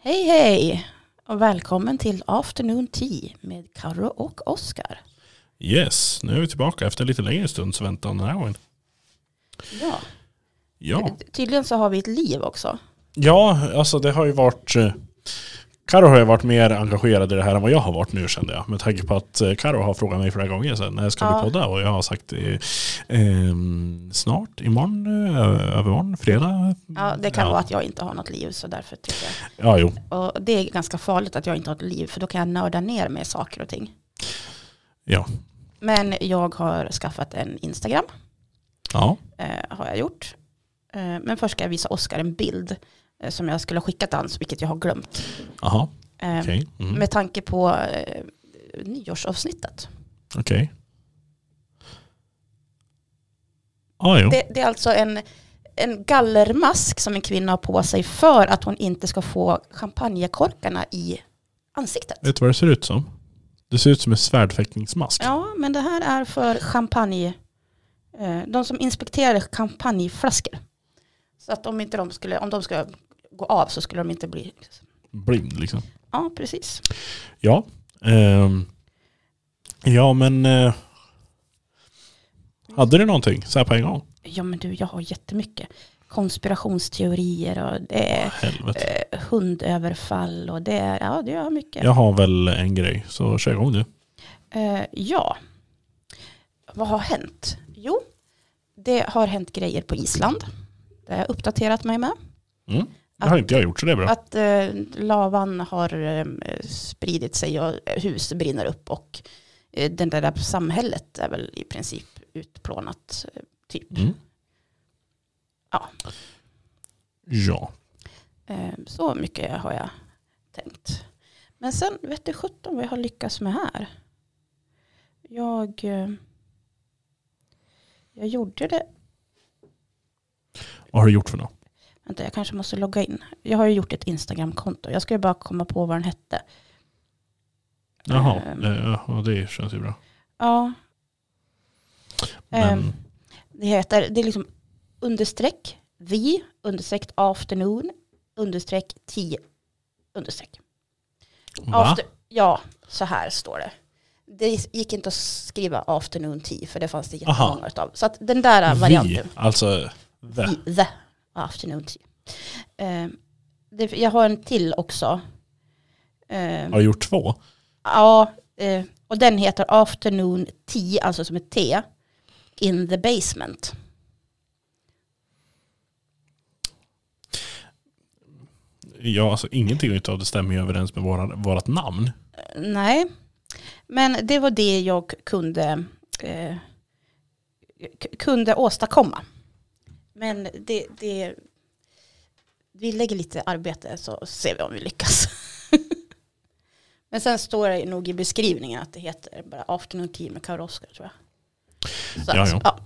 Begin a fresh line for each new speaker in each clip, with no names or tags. Hej hej och välkommen till Afternoon Tea med Karo och Oskar.
Yes, nu är vi tillbaka efter en lite längre stunds väntan den här gången.
Ja.
Ja.
Tydligen så har vi ett liv också.
ja, alltså det har ju varit... eh, Karo har ju varit mer engagerad i det här än vad jag har varit nu kände jag. Med tanke på att eh, Karo har frågat mig flera gånger sen när ska
Ja.
vi podda? Och jag har sagt eh, ehm, snart, imorgon, eh, övermorgon, fredag.
Ja, det kan
Ja.
vara att jag inte har något liv så därför tycker jag.
Ja, jo.
Och det är ganska farligt att jag inte har ett liv för då kan jag nörda ner mig i saker och ting.
Ja.
Men jag har skaffat en Instagram,
Ja.
eh, har jag gjort. Eh, men först ska jag visa Oskar en bild eh, som jag skulle ha skickat hans, vilket jag har glömt.
Aha.
Eh,
Okej. Mm.
Med tanke på eh, nyårsavsnittet.
Okej. Ja, jo.
Det, det är alltså en, en gallermask som en kvinna har på sig för att hon inte ska få champagnekorkarna i ansiktet.
Vet du vad det ser ut som? Det ser ut som en svärdfäktningsmask.
Ja, men det här är för champagne, eh, de som inspekterar champagneflaskor. Så att om, inte de skulle, om de skulle gå av så skulle de inte bli...
Blind liksom.
Ja, precis.
Ja. ehm, ja men eh, hade du någonting så här på en gång?
Ja, men du, jag har jättemycket konspirationsteorier och det är
Helvete.
eh, hundöverfall och det är... Ja, det gör mycket.
Jag har väl en grej så kör igång du.
Eh, ja. Vad har hänt? Jo, det har hänt grejer på Island. Det har jag uppdaterat mig med.
Mm. Det har inte jag gjort så det är bra.
Att eh, lavan har eh, spridit sig och hus brinner upp och eh, den där, där samhället är väl i princip utplånat. eh, Typ.
Mm.
Ja.
Ja.
Eh, så mycket har jag tänkt. Men sen vet du sjutton vad jag har lyckats med här. Jag, eh, jag gjorde det
Vad har du gjort för något?
Vänta, jag kanske måste logga in. Jag har ju gjort ett Instagram-konto. Jag skulle bara komma på vad den hette.
Jaha,
Ehm.
eh, ja, det känns ju bra.
Ja,
Men,
Ehm. det heter, det är liksom understreck the, understreck afternoon, understreck ti, understreck.
va?
ja, så här står det. Det gick inte att skriva afternoon tea för det fanns det
Aha.
jättemånga utav. Så att den där varianten.
Vi, alltså the.
i The Afternoon Tea. Eh, det, jag har en till också. Eh,
Har du gjort två?
ja, eh, och den heter Afternoon Tea, alltså som ett T, in the basement.
Ja, alltså ingenting utav det stämmer ju överens med våra, vårat namn.
Eh, nej, men det var det jag kunde, eh, k- kunde åstadkomma. Men det, det, vi lägger lite arbete så ser vi om vi lyckas. Men sen står det nog i beskrivningen att det heter bara Afternoon Tea med Karl Oskar tror jag. Så
Ja,
att,
ja.
ja,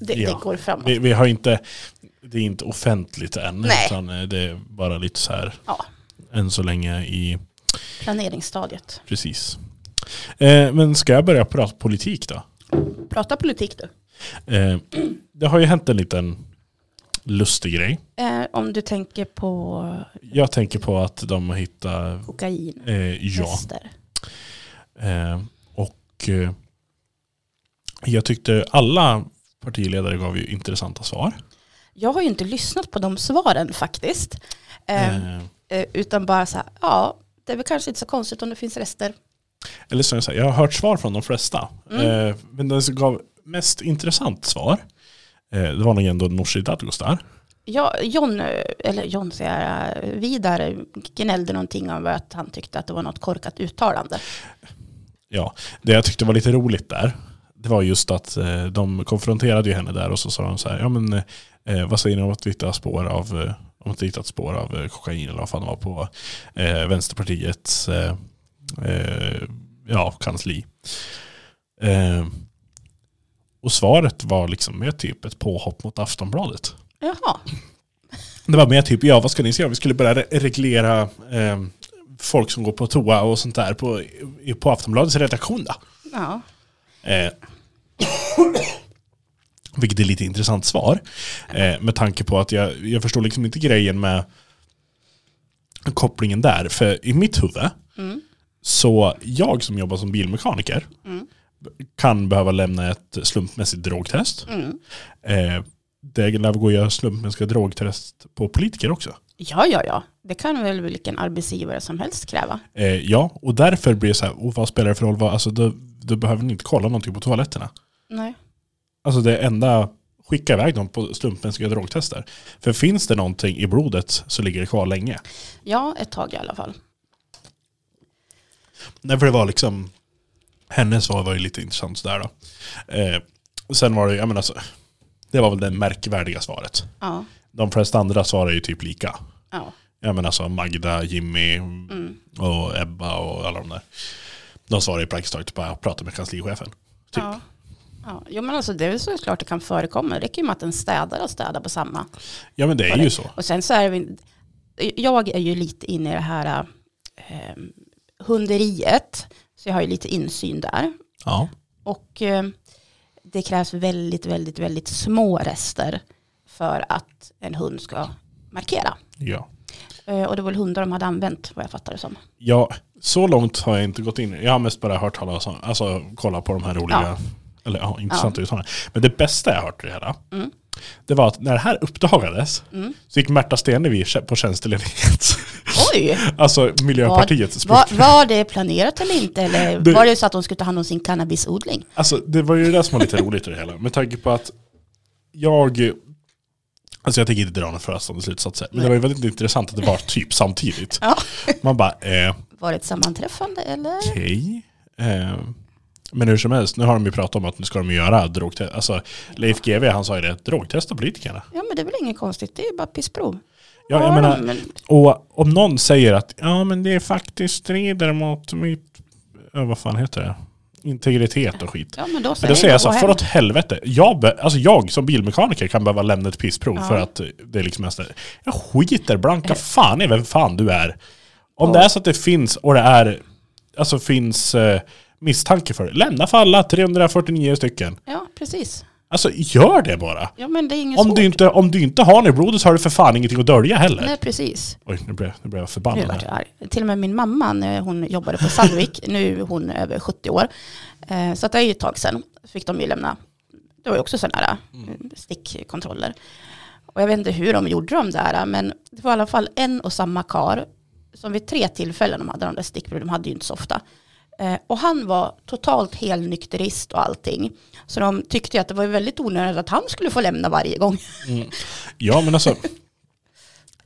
det,
Ja.
det går framåt.
Vi, vi har inte, det är inte offentligt än.
Nej.
Utan eh, det är bara lite så här
Ja,
än så länge i
planeringsstadiet.
Precis. Eh, men ska jag börja prata politik då?
Prata politik du.
Eh, det har ju hänt en liten lustig grej.
Eh, om du tänker på
Jag tänker på att de har hittat,
kokain,
eh, ja,
rester.
eh, och eh, jag tyckte alla partiledare gav ju intressanta svar.
Jag har ju inte lyssnat på de svaren faktiskt. Eh,
Eh,
eh, Utan bara så här, ja, det är väl kanske inte så konstigt om det finns rester.
eller som jag säger, jag har hört svar från de flesta. Eh, men den som gav mest intressant svar, eh, det var nog ändå Nooshi Dadgostar.
Ja, John, eh, eller John säger jag, eh, Vidar gnällde någonting om att han tyckte att det var något korkat uttalande.
Ja, det jag tyckte var lite roligt där, det var just att eh, de konfronterade ju henne där och så sa de så här, ja men eh, vad säger ni om att vi hittar spår av, eh, om att vi hittat spår av eh, kokain eller vad fan det var på eh, Vänsterpartiets eh, eh, ja, kansli. Eh, och svaret var liksom mer typ ett påhopp mot Aftonbladet.
Jaha,
Det var mer typ, ja vad ska ni säga, vi skulle börja re- reglera eh, folk som går på toa och sånt där på, i- på Aftonbladets redaktion då.
ja.
Eh, vilket är lite intressant svar. Eh, med tanke på att jag, jag förstår liksom inte grejen med kopplingen där. För i mitt huvud,
Mm.
så jag som jobbar som bilmekaniker
Mm.
kan behöva lämna ett slumpmässigt drogtest.
Mm.
Eh, det lär gå att göra slumpmässiga drogtest på politiker också.
Ja, ja, ja. Det kan väl vilken arbetsgivare som helst kräva.
Eh, ja, och därför blir det så här, och vad spelar det för roll? Vad, alltså, då, då behöver ni inte kolla någonting på toaletterna.
Nej.
Alltså det enda, skicka iväg dem på slumpmässiga drogtester. För finns det någonting i blodet så ligger det kvar länge.
Ja, ett tag i alla fall.
Nej, för det var liksom, hennes svar var ju lite intressant sådär då. Eh, och sen var det, jag menar, så, det var väl det märkvärdiga svaret.
Ja,
De flesta andra svarar ju typ lika.
ja.
Jag menar så Magda, Jimmy
Mm.
och Ebba och alla de där. De svarar ju praktiskt taget bara prata med kanslichefen. Typ.
Ja. Ja. Jo men alltså det är väl såklart det kan förekomma. Det räcker ju med att en städare städar på samma.
Ja men det är ju så.
Och sen så är vi, jag är ju lite inne i det här eh, hunderiet. Så jag har ju lite insyn där.
Ja.
Och eh, det krävs väldigt, väldigt, väldigt små rester för att en hund ska markera.
ja.
Eh, och det var väl hundar de hade använt vad jag fattar det som.
Ja, så långt har jag inte gått in. Jag har mest bara hört talas om, alltså kolla på de här roliga,
Ja.
eller ja, intressanta uttalanden. Men det bästa jag hört i det här, det var att när det här uppdagades så gick Märta Stenevi på tjänstledighet.
Oj!
alltså Miljöpartiets
Var, var, var det planerat eller inte? Eller
Det-
var det så att de skulle ta hand om sin cannabisodling?
Alltså det var ju det där som var lite roligt i det hela. Med tanke på att jag... Alltså jag tänker inte dra några förhastande slutsatser. Men det var ju väldigt intressant att det var typ samtidigt.
Ja.
Man bara, eh,
Var det ett sammanträffande eller?
okej. Eh, men hur som helst, nu har de ju pratat om att nu ska de ju göra drogtest. Alltså Leif GW han sa ju det, drogtesta politikerna.
Ja men det är väl inget konstigt, det är ju bara pissprov.
Ja, jag menar, och om någon säger att ja men det är faktiskt strider mot mitt, ja, vad fan heter det? Integritet och skit.
ja, men då säger,
Men då säger jag så,
gå
här,
hem.
för åt helvete. Jag, be, alltså jag som bilmekaniker kan behöva lämna ett pissprov för att det är liksom en sån här- Jag skiter
Eh.
blanka fan i vem fan du är. Om det är så att det finns, och det är, alltså finns eh, misstanke för det. Lämna för alla 349 stycken.
Ja precis.
Alltså gör det bara.
Ja men det är inget
Om
svårt.
du, inte, om du inte har det i blodet så har du för fan ingenting att dölja heller.
Nej precis.
Oj, nu blev, nu blev jag
Nu
förbannad.
vart
Här.
jag arg. Till och med min mamma när hon jobbade på Sandvik, nu är hon över 70 år. Eh, Så att det är ju ett tag sedan, fick de ju lämna, det var ju också sådana här eh, stickkontroller. Och jag vet inte hur de gjorde de där, men det var i alla fall en och samma kar som vid tre tillfällen de hade de där stickproven, de hade ju inte så ofta. Eh, Och han var totalt helnykterist och allting. Så de tyckte ju att det var väldigt onödigt att han skulle få lämna varje gång.
Ja men alltså,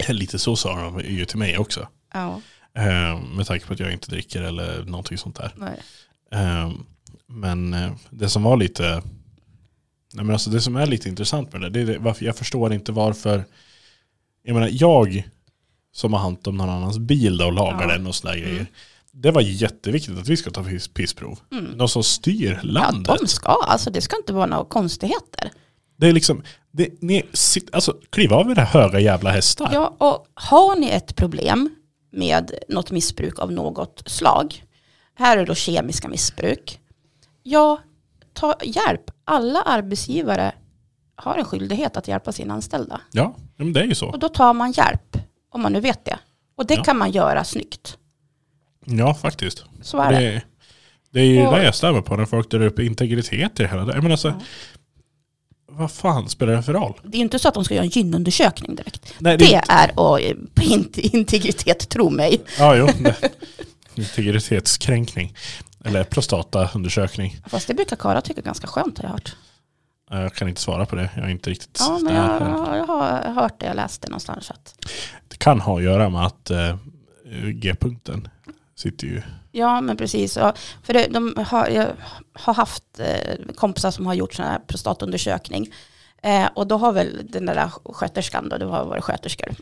lite så sa de ju till mig också.
Ja,
Eh, med tanke på att jag inte dricker eller någonting sånt där.
nej.
Ehm, Men eh, det som var lite Nej, men alltså det som är lite intressant med det, det är det, varför jag förstår inte varför Jag menar jag som har hand om någon annans bil då och lagar
Ja. Mm.
den och sådana grejer Det var jätteviktigt att vi ska ta piss, pissprov. De som styr
Mm. Ja,
landet.
de ska, alltså det ska inte vara några konstigheter.
Det är liksom, det, ni, sitt, alltså, kliv av era höga jävla hästar.
Ja, och har ni ett problem med något missbruk av något slag, här är då kemiska missbruk, ja, ta hjälp. Alla arbetsgivare har en skyldighet att hjälpa sina anställda.
Ja, ja, men det är ju så.
Och då tar man hjälp, om man nu vet det. Och det
Ja.
kan man göra snyggt.
Ja, faktiskt.
Så är det.
Det, det är ju
Och-
det jag stämmer på när folk drar upp integritet i det hela. Jag menar alltså, vad fan spelar det för roll?
Det är ju inte så att de ska göra en gynundersökning direkt.
Nej, det-
det, är att, eh, på in- integritet, tro mig.
Ja, jo. det- Integritetskränkning. Eller prostataundersökning.
Fast det brukar Kara tycka är ganska skönt har jag hört.
Eh, Jag kan inte svara på det. Jag är inte riktigt
Ja, men
där
jag,
än.
jag har hört det, jag läste det någonstans. Att
Det kan ha att göra med att eh, G-punkten sitter ju...
Ja, men precis. Ja, För det, de har, jag har haft eh, kompisar som har gjort sån här prostatundersökning. Eh, och då har väl den där sköterskan, då, det har varit sköterskor,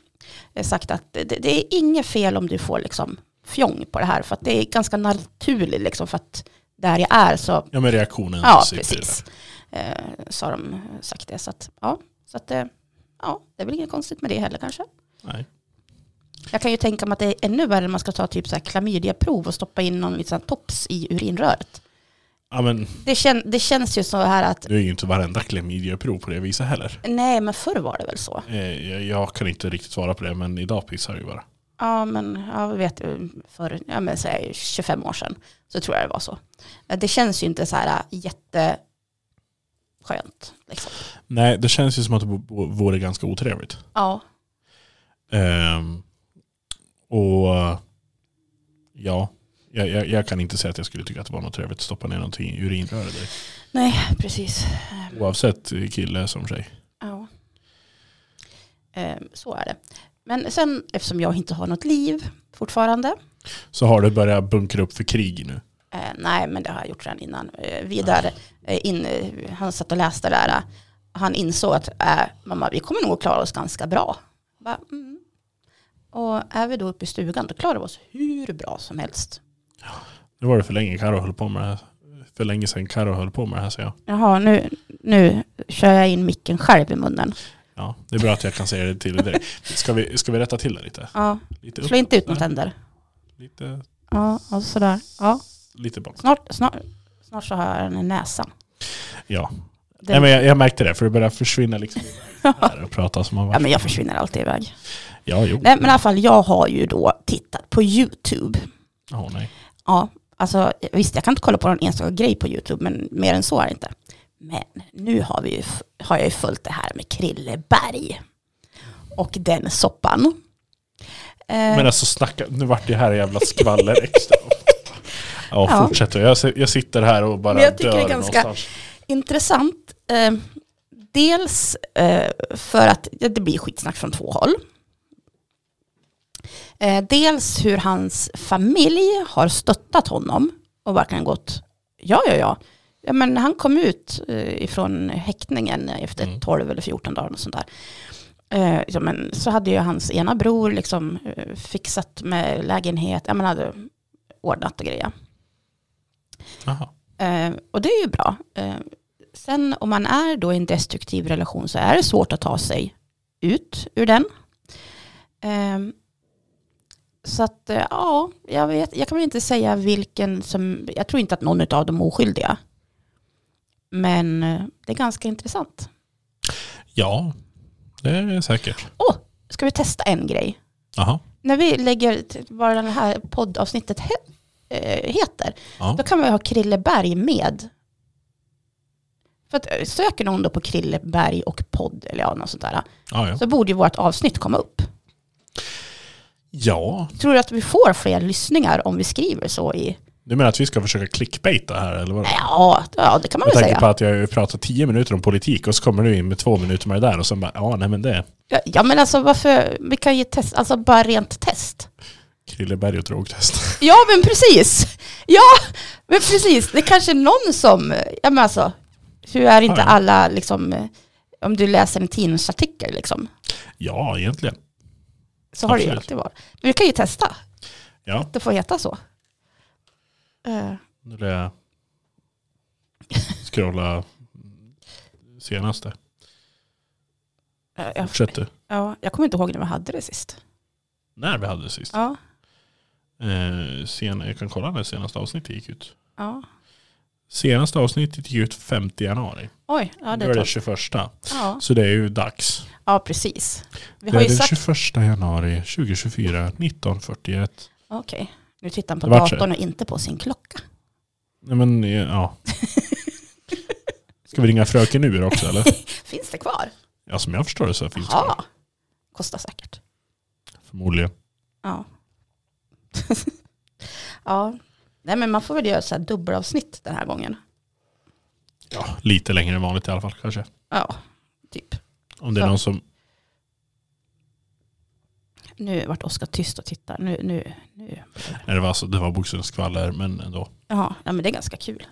eh, sagt att det, det är inget fel om du får liksom fjong på det här. För att det är ganska naturligt, liksom, för att där jag är så,
Ja, men reaktionen
ja
sitter ju
precis, eh, så har de sagt det. Så att, ja, så att, eh, ja, det är väl inget konstigt med det heller kanske.
där. Nej.
Jag kan ju tänka mig att det är ännu värre när man ska ta typ så här klamydiaprov och stoppa in någon liten tops i urinröret.
Ja, men
Det, kän, det känns ju så här att,
det är ju inte varenda klamydiaprov på det viset heller.
nej men förr var det väl så.
Eh, jag- Jag kan inte riktigt svara på det, men idag pissar jag ju bara.
Ja, men jag vet för ja, men, säg 25 år sedan så tror jag det var så. Det känns ju inte så här jätteskönt. Liksom.
Nej, det känns ju som att det bo- vore ganska otrevligt.
Ja,
Ehm, och ja, jag, jag, jag kan inte säga att jag skulle tycka att det var något trevligt att stoppa ner någonting i urinröret direkt.
nej, precis. Ehm,
Oavsett kille som tjej.
Ja. Ehm, Så är det. Men sen eftersom jag inte har något liv fortfarande.
Så har du börjat bunkra upp för krig nu.
Eh, nej, men det har jag gjort redan innan. Eh, vidare, eh, in, eh, han satt och läste där. eh, Han insåg att eh, mamma, vi kommer nog att klara oss ganska bra. Jag Bara, mm. Och är vi då uppe i stugan, då klarar vi oss hur bra som helst.
Nu var det för länge Karo höll på med det här. För länge sedan Karo höll på med det här säger jag.
Jaha, nu, nu kör jag in micken själv i munnen.
Ja, det är bra att jag kan säga det till dig. Ska vi, ska vi rätta till det lite?
Ja,
lite
slå inte ut några
där,
tänder.
Lite,
Ja, och sådär. Ja,
lite bakåt.
snart, snart, snart så har jag den i näsan.
Ja.
Den,
Nej, men jag, jag märkte det, för det började försvinna liksom här och prata som man
ja,
var.
men jag försvinner alltid iväg.
Ja, jo.
Nej, men i alla fall, jag har ju då tittat på YouTube.
Ja, nej.
Ja, alltså visst jag kan inte kolla på någon enstaka grej på YouTube, men mer än så är det inte. Men nu har, vi ju, f- har jag ju följt det här med Krilleberg och den soppan. Eh,
Men alltså snacka, nu vart det här jävla skvaller extra. Ja,
Ja.
fortsätt då. Jag, si- jag sitter här och bara
Men jag tycker
dör
det är ganska-
någonstans.
Intressant, eh, dels eh, för att ja, det blir skitsnack från två håll. Eh, dels hur hans familj har stöttat honom och verkligen gått, ja ja ja. ja men han kom ut eh, ifrån häktningen efter
Mm.
12 eller 14 dagar och sånt där. Eh, ja, men så hade ju hans ena bror liksom, eh, fixat med lägenhet, ja, men hade ordnat och grejer.
Jaha.
Eh, och det är ju bra. Eh, sen om man är då i en destruktiv relation så är det svårt att ta sig ut ur den. Eh, så att eh, ja, jag, vet, jag kan väl inte säga vilken som, jag tror inte att någon av dem är oskyldiga. Men eh, det är ganska intressant.
Ja, det är säkert.
Åh, ska vi testa en grej?
Jaha.
När vi lägger t- vad det här poddavsnittet he- eh, heter,
Ja.
Då kan vi ha Krilleberg med. För att eh, söker någon då på Krilleberg och podd eller ja, något sånt där,
Ja, ja.
så borde ju vårt avsnitt komma upp.
ja,
Tror du att vi får fler lyssningar om vi skriver så i...
du menar att vi ska försöka clickbaita här eller vad?
Ja, ja det kan man
Jag
väl
tänker på
säga.
att jag har ju pratat tio minuter om politik och så kommer du in med två minuter med det där och sen bara, ja nej men det är
Ja, Ja, men alltså varför... Vi kan ju testa, alltså bara rent test.
Krilleberg och drogtest.
Ja, men precis. Ja, men precis. Det är kanske är någon som... Ja, men alltså. Hur är inte
Ja, ja.
alla liksom... eh, Om du läser en tidningsartikel liksom.
ja, egentligen.
Så har det ju
Absolut.
alltid varit. Men vi kan ju testa.
Ja,
det får heta så. Eh,
nu är det scrolla senaste.
eh, jag,
Fortsätt du.
ja, jag kommer inte ihåg när vi hade det sist.
När vi hade det sist.
Ja,
Eh, sen, jag kan kolla när senaste avsnittet gick ut.
ja.
Senaste avsnittet gick ut 5 januari.
Oj, ja,
nu
det
är
är
det
tolv.
21.
ja.
Så det är ju dags.
ja, precis. Vi
Det
har
är
ju
den
sagt...
21 januari 2024 1941.
Okej, nu tittar han på
Det vart så.
datorn och inte på sin klocka.
Nej men eh, ja. Ska vi ringa fröken ur också eller?
Finns det kvar?
Ja som jag förstår det så finns det
Ja, kostar säkert.
förmodligen.
Ja. ja, nej men man får väl göra så här dubbelavsnitt den här gången.
Ja, lite längre än vanligt i alla fall kanske.
Ja, typ.
Om det är
Ja.
någon som...
Nu vart Oskar tyst och tittar. Nu, nu, nu.
Nej, det var, alltså, det var boxningsskvaller men ändå.
Ja, ja, men det är ganska kul.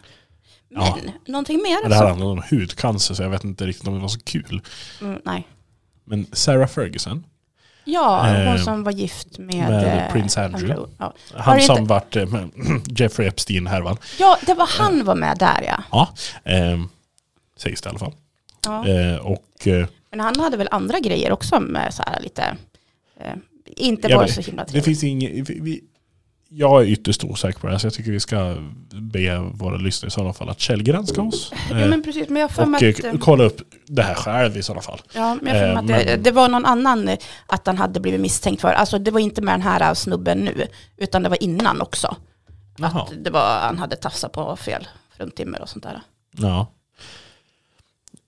Men
Ja.
någonting mer?
Men det här
som-
handlade om hudcancer så jag vet inte riktigt om det var så kul.
Mm, nej.
Men Sarah Ferguson,
Ja, hon
Eh,
som var gift med,
med
eh,
Prince Andrew.
Ja. Har
han
det inte-
som vart eh, med Jeffrey Epstein-härvan.
ja, det var
Eh.
han var med där ja.
Ja, ehm, sägs det i alla fall.
ja.
Eh, och eh,
Men han hade väl andra grejer också med så här lite, eh, inte
Jag
bara
vet.
så himla
det
trevligt.
finns inget... Vi, vi, jag är ytterst osäker på det här, så jag tycker vi ska be våra lyssnare i sådana fall att källgranska oss.
Ja, men precis, men jag har för
eh, och
mig att,
eh, kolla upp det här själv i sådana fall.
ja, men jag har för mig att
eh,
det,
men-
det var någon annan eh, att han hade blivit misstänkt för. Alltså det var inte med den här eh, snubben nu, utan det var innan också.
Jaha.
Det var, han hade tafsat på fel fruntimmer och sånt där.
Ja.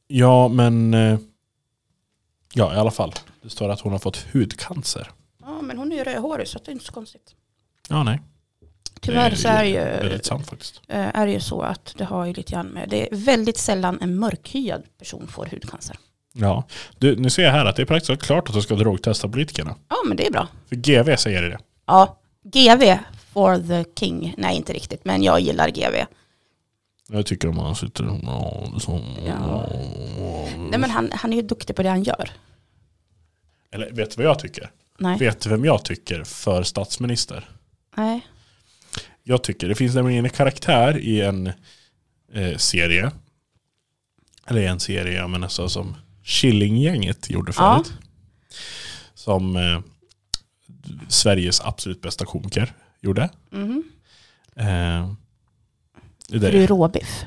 ja, men... eh, Ja, i alla fall. Det står att hon har fått hudcancer.
Ja, men hon är ju rödhårig så det är inte så konstigt.
Ja, nej.
Tyvärr
Det
så är ju,
Väldigt sant faktiskt.
eh, är det ju så att det har ju lite grann med, det är väldigt sällan en mörkhyad person får hudcancer.
Ja. Du, nu ser jag här att det är praktiskt taget klart att du ska drogtesta politikerna.
Ja, men det är bra.
För GV säger det.
Ja, GV for the king. Nej, inte riktigt, men jag gillar GV.
Jag tycker om han sitter... Ja, så-
Ja. Nej, men han, han är ju duktig på det han gör.
Eller vet du vad jag tycker?
Nej.
Vet du vem jag tycker för statsminister?
Nej.
Jag tycker, det finns nämligen en karaktär i en eh, serie. Eller i en serie, men alltså som Killinggänget gjorde förut. Som eh, Sveriges absolut bästa komiker gjorde.
Mhm.
Eh, det där-
Fru Råbiff.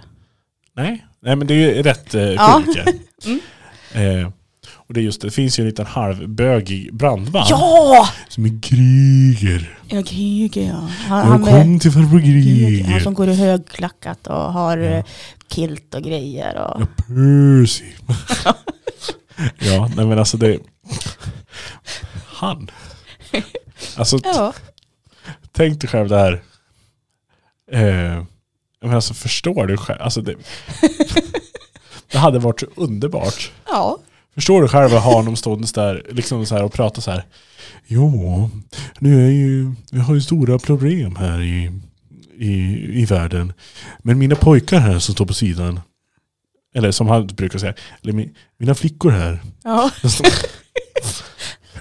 Nej. Nej, men det är ju rätt eh,
Ja. Mm.
komiker. eh, och det är just det, det finns ju en liten halvbögig brandman.
Ja!
Som är Kryger.
Ja, Kryger ja. Han,
Jag
han, med,
kom till farbror
Kryger, han
Kryger.
som går i högklackat och har
Ja.
eh, kilt och grejer. Och,
Ja, Percy. ja, nej men alltså det... Han. Alltså t-
ja.
tänk dig själv det här. Eh, men alltså förstår du själv? Alltså det, det hade varit så underbart.
ja.
Förstår du själv att ha honom ståendes där liksom så här och prata så här. Jo, nu är ju, vi har ju stora problem här i, i, i världen. Men mina pojkar här som står på sidan. Eller som han brukar säga. Eller mi, mina flickor här.
Ja,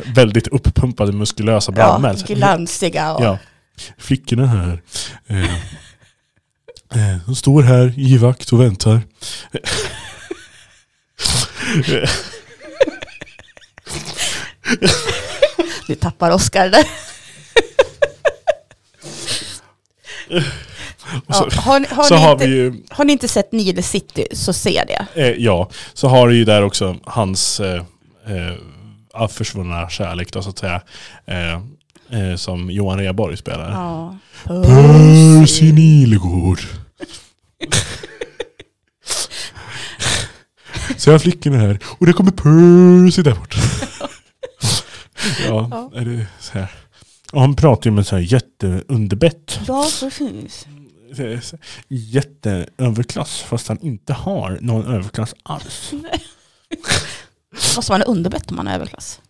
Väldigt uppumpade muskulösa brandmän.
ja
Så här,
glansiga och...
Ja. Flickorna här. Eh, eh, de står här i vakt och väntar.
Nu tappar Oskar det.
Och så,
ja, har, ni- har,
så
ni
har
inte,
vi ju,
har ni inte sett Nile City så se det.
eh, ja, så har du ju där också hans eh, eh, av försvunna kärlek då så att säga. Eh, eh, som Johan Rheborg spelar.
Ja.
Percy Nilegård. Så jag har flickorna här. Och det kommer Percy där borta. Ja,
Ja.
är det så här. Och han pratar ju med så här jätteunderbett.
Ja, precis. Mm.
Jätteöverklass fast han inte har någon överklass alls.
Måste man ha underbett om man är överklass?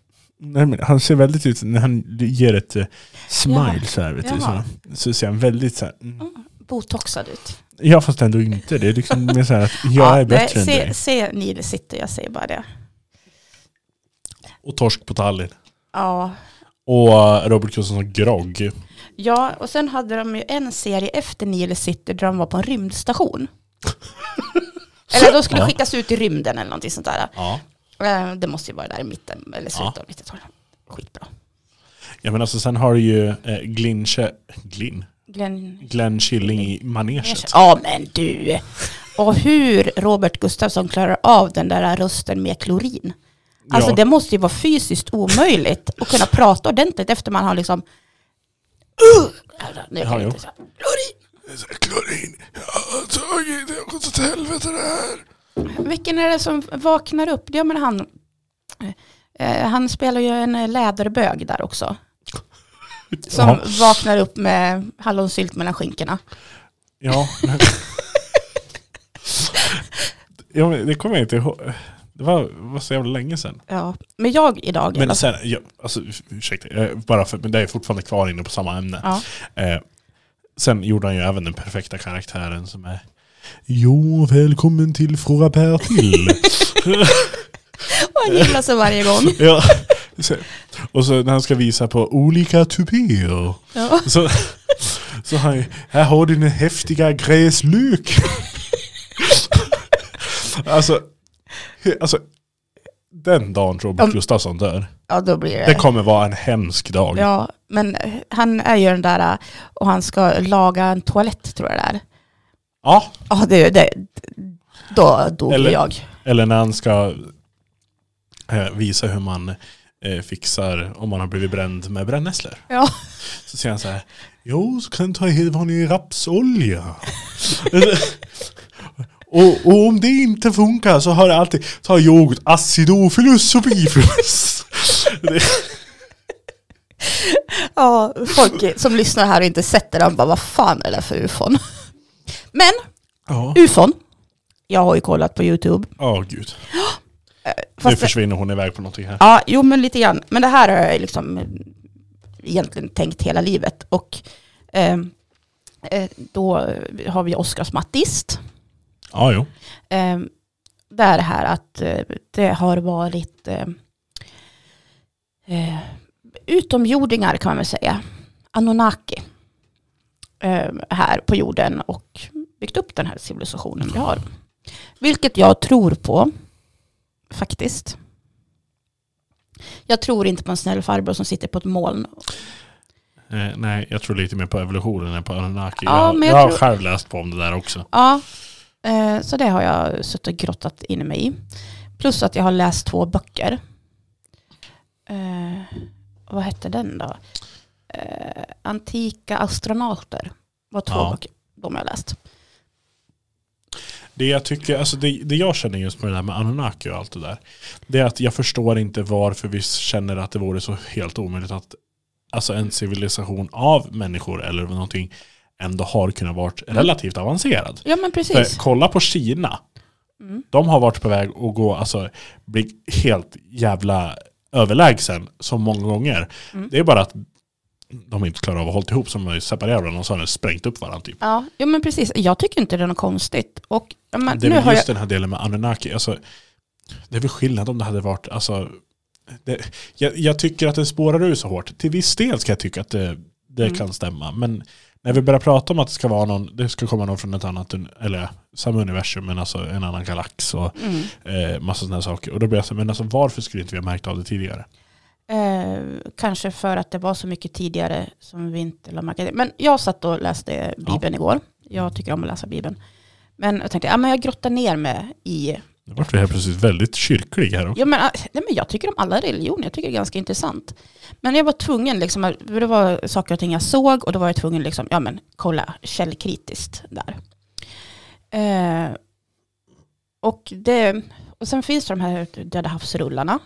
Nej, men han ser väldigt ut när han ger ett eh, smile
Ja.
så här. Vet du, så,
Jaha.
så ser han väldigt så här. mm.
Botoxad ut.
Ja fast ändå inte. Det är liksom mer så här att jag är bättre
nej,
än
se,
dig.
Se Nile City, jag säger bara det.
Och torsk på Tallinn.
Ja.
Och eh, Robert Gustafsson grogg.
ja, och sen hade de ju en serie efter Nile City där de var på en rymdstation. eller de skulle
Ja.
skickas ut i rymden eller någonting sånt där.
Ja.
Eh, Det måste ju vara där i mitten eller slutet
Ja.
av 90-talet. Skitbra.
ja men alltså sen har du ju eh, Glyn, Che- Glyn,
Glenn
Glenn Killing i manegen.
Ja men du. Och hur Robert Gustafsson klarar av den där rösten med klorin. Alltså
Ja.
det måste ju vara fysiskt omöjligt att kunna prata ordentligt efter man har liksom... Uh, nu kan
Ja,
jag
jo.
inte säga. Klorin!
Klorin, jag har tagit det, har gått åt helvete det här.
Vilken är det som vaknar upp? Ja men han... Eh, han spelar ju en eh, läderbög där också. Som
Ja.
vaknar upp med hallonsylt mellan skinkorna.
Ja. ja men det kommer jag inte ihåg. Det var, var så jävla länge sedan.
Ja. Men jag idag... i alla
Men
fall-
sen, ja, alltså, ursäkta, jag, bara för, men det är fortfarande kvar inne på samma ämne.
ja.
Eh, sen gjorde han ju även den perfekta karaktären som är Jo, välkommen till Fråga Per till.
Och han gillar sig varje gång.
ja. så, och så när han ska visa på olika tupéer.
Ja.
Så, så han, här har du den häftiga gräslök. alltså, he- alltså, den dagen Robert
Om-
Gustafsson dör.
Ja, då blir det.
Det kommer vara en hemsk dag.
Ja, men han är ju den där äh, och han ska laga en toalett tror jag det är.
Ja,
Ja, det, det, då dog
Eller-
jag.
Eller när han ska eh, visa hur man eh, fixar om man har blivit bränd med brännässlor.
Ja.
Så säger han så här. Jo, så kan du ta hit vad ni rapsolja. och, och om det inte funkar så har jag alltid ta yoghurt, acidofilus och bifilus.
Ja, folk som lyssnar här och inte sett det, de bara vad fan är det för ufon? Men
ja,
ufon, jag har ju kollat på YouTube. Eh,
oh, gud. Nu
Fast det,
försvinner hon iväg på någonting här.
ja, jo men lite grann. Men det här har jag liksom eh, egentligen tänkt hela livet. Och ehm, eh, då har vi Oscars Mattist.
Ja, jo.
Eh, det är det här att eh, det har varit eh, eh, utomjordingar kan man väl säga. Anunnaki. Eh, här på jorden och byggt upp den här civilisationen vi har. Vilket jag tror på. Faktiskt. Jag tror inte på en snäll farbror som sitter på ett moln.
Eh, nej, jag tror lite mer på evolutionen än på Anunnaki.
Ja,
jag
men
jag
jag
har
tror-
själv läst på om det där också.
Ja, eh, så det har jag suttit och grottat in mig i. Plus att jag har läst två böcker. Eh, vad hette den då? Eh, Antika astronauter var två
Ja.
böcker de jag läst.
Det jag, tycker, alltså det, det jag känner just med det där med Anunnaki och allt det där. Det är att jag förstår inte varför vi känner att det vore så helt omöjligt att alltså en civilisation av människor eller någonting ändå har kunnat vara relativt avancerad.
Ja men
För,
precis.
kolla på Kina.
Mm.
De har varit på väg att gå, alltså bli helt jävla överlägsen så många gånger.
Mm.
Det är bara att de inte klarar av att hålla ihop, som är separerade varandra och så har de sprängt upp varandra typ.
Ja, ja, men precis. Jag tycker inte det är något konstigt. Och, ja, men,
det är
nu
väl
har
just
jag,
den här delen med Anunnaki. Alltså, det är väl skillnad om det hade varit... Alltså, det, jag, jag tycker att det spårar ur så hårt. Till viss del ska jag tycka att det, det
Mm.
kan stämma. Men när vi börjar prata om att det ska, vara någon, det ska komma någon från ett annat, un- eller samma universum, men alltså en annan galax och
mm.
eh, massa sådana här saker. Och då blir jag så här, men alltså varför skulle inte vi ha märkt av det tidigare?
Eh, kanske för att det var så mycket tidigare som vi inte lade märke till. Men jag satt och läste Bibeln igår. Jag tycker om att läsa Bibeln. Men jag tänkte, ja, men jag grottar ner mig i...
Nu vart vi här precis väldigt kyrklig här också.
Ja, men, ah, nej, men jag tycker om alla religioner, jag tycker det är ganska intressant. Men jag var tvungen, liksom, att- för det var saker och ting jag såg och då var jag tvungen liksom, ja men kolla källkritiskt där. Eh, och, det, och sen finns det de här Döda havsrullarna.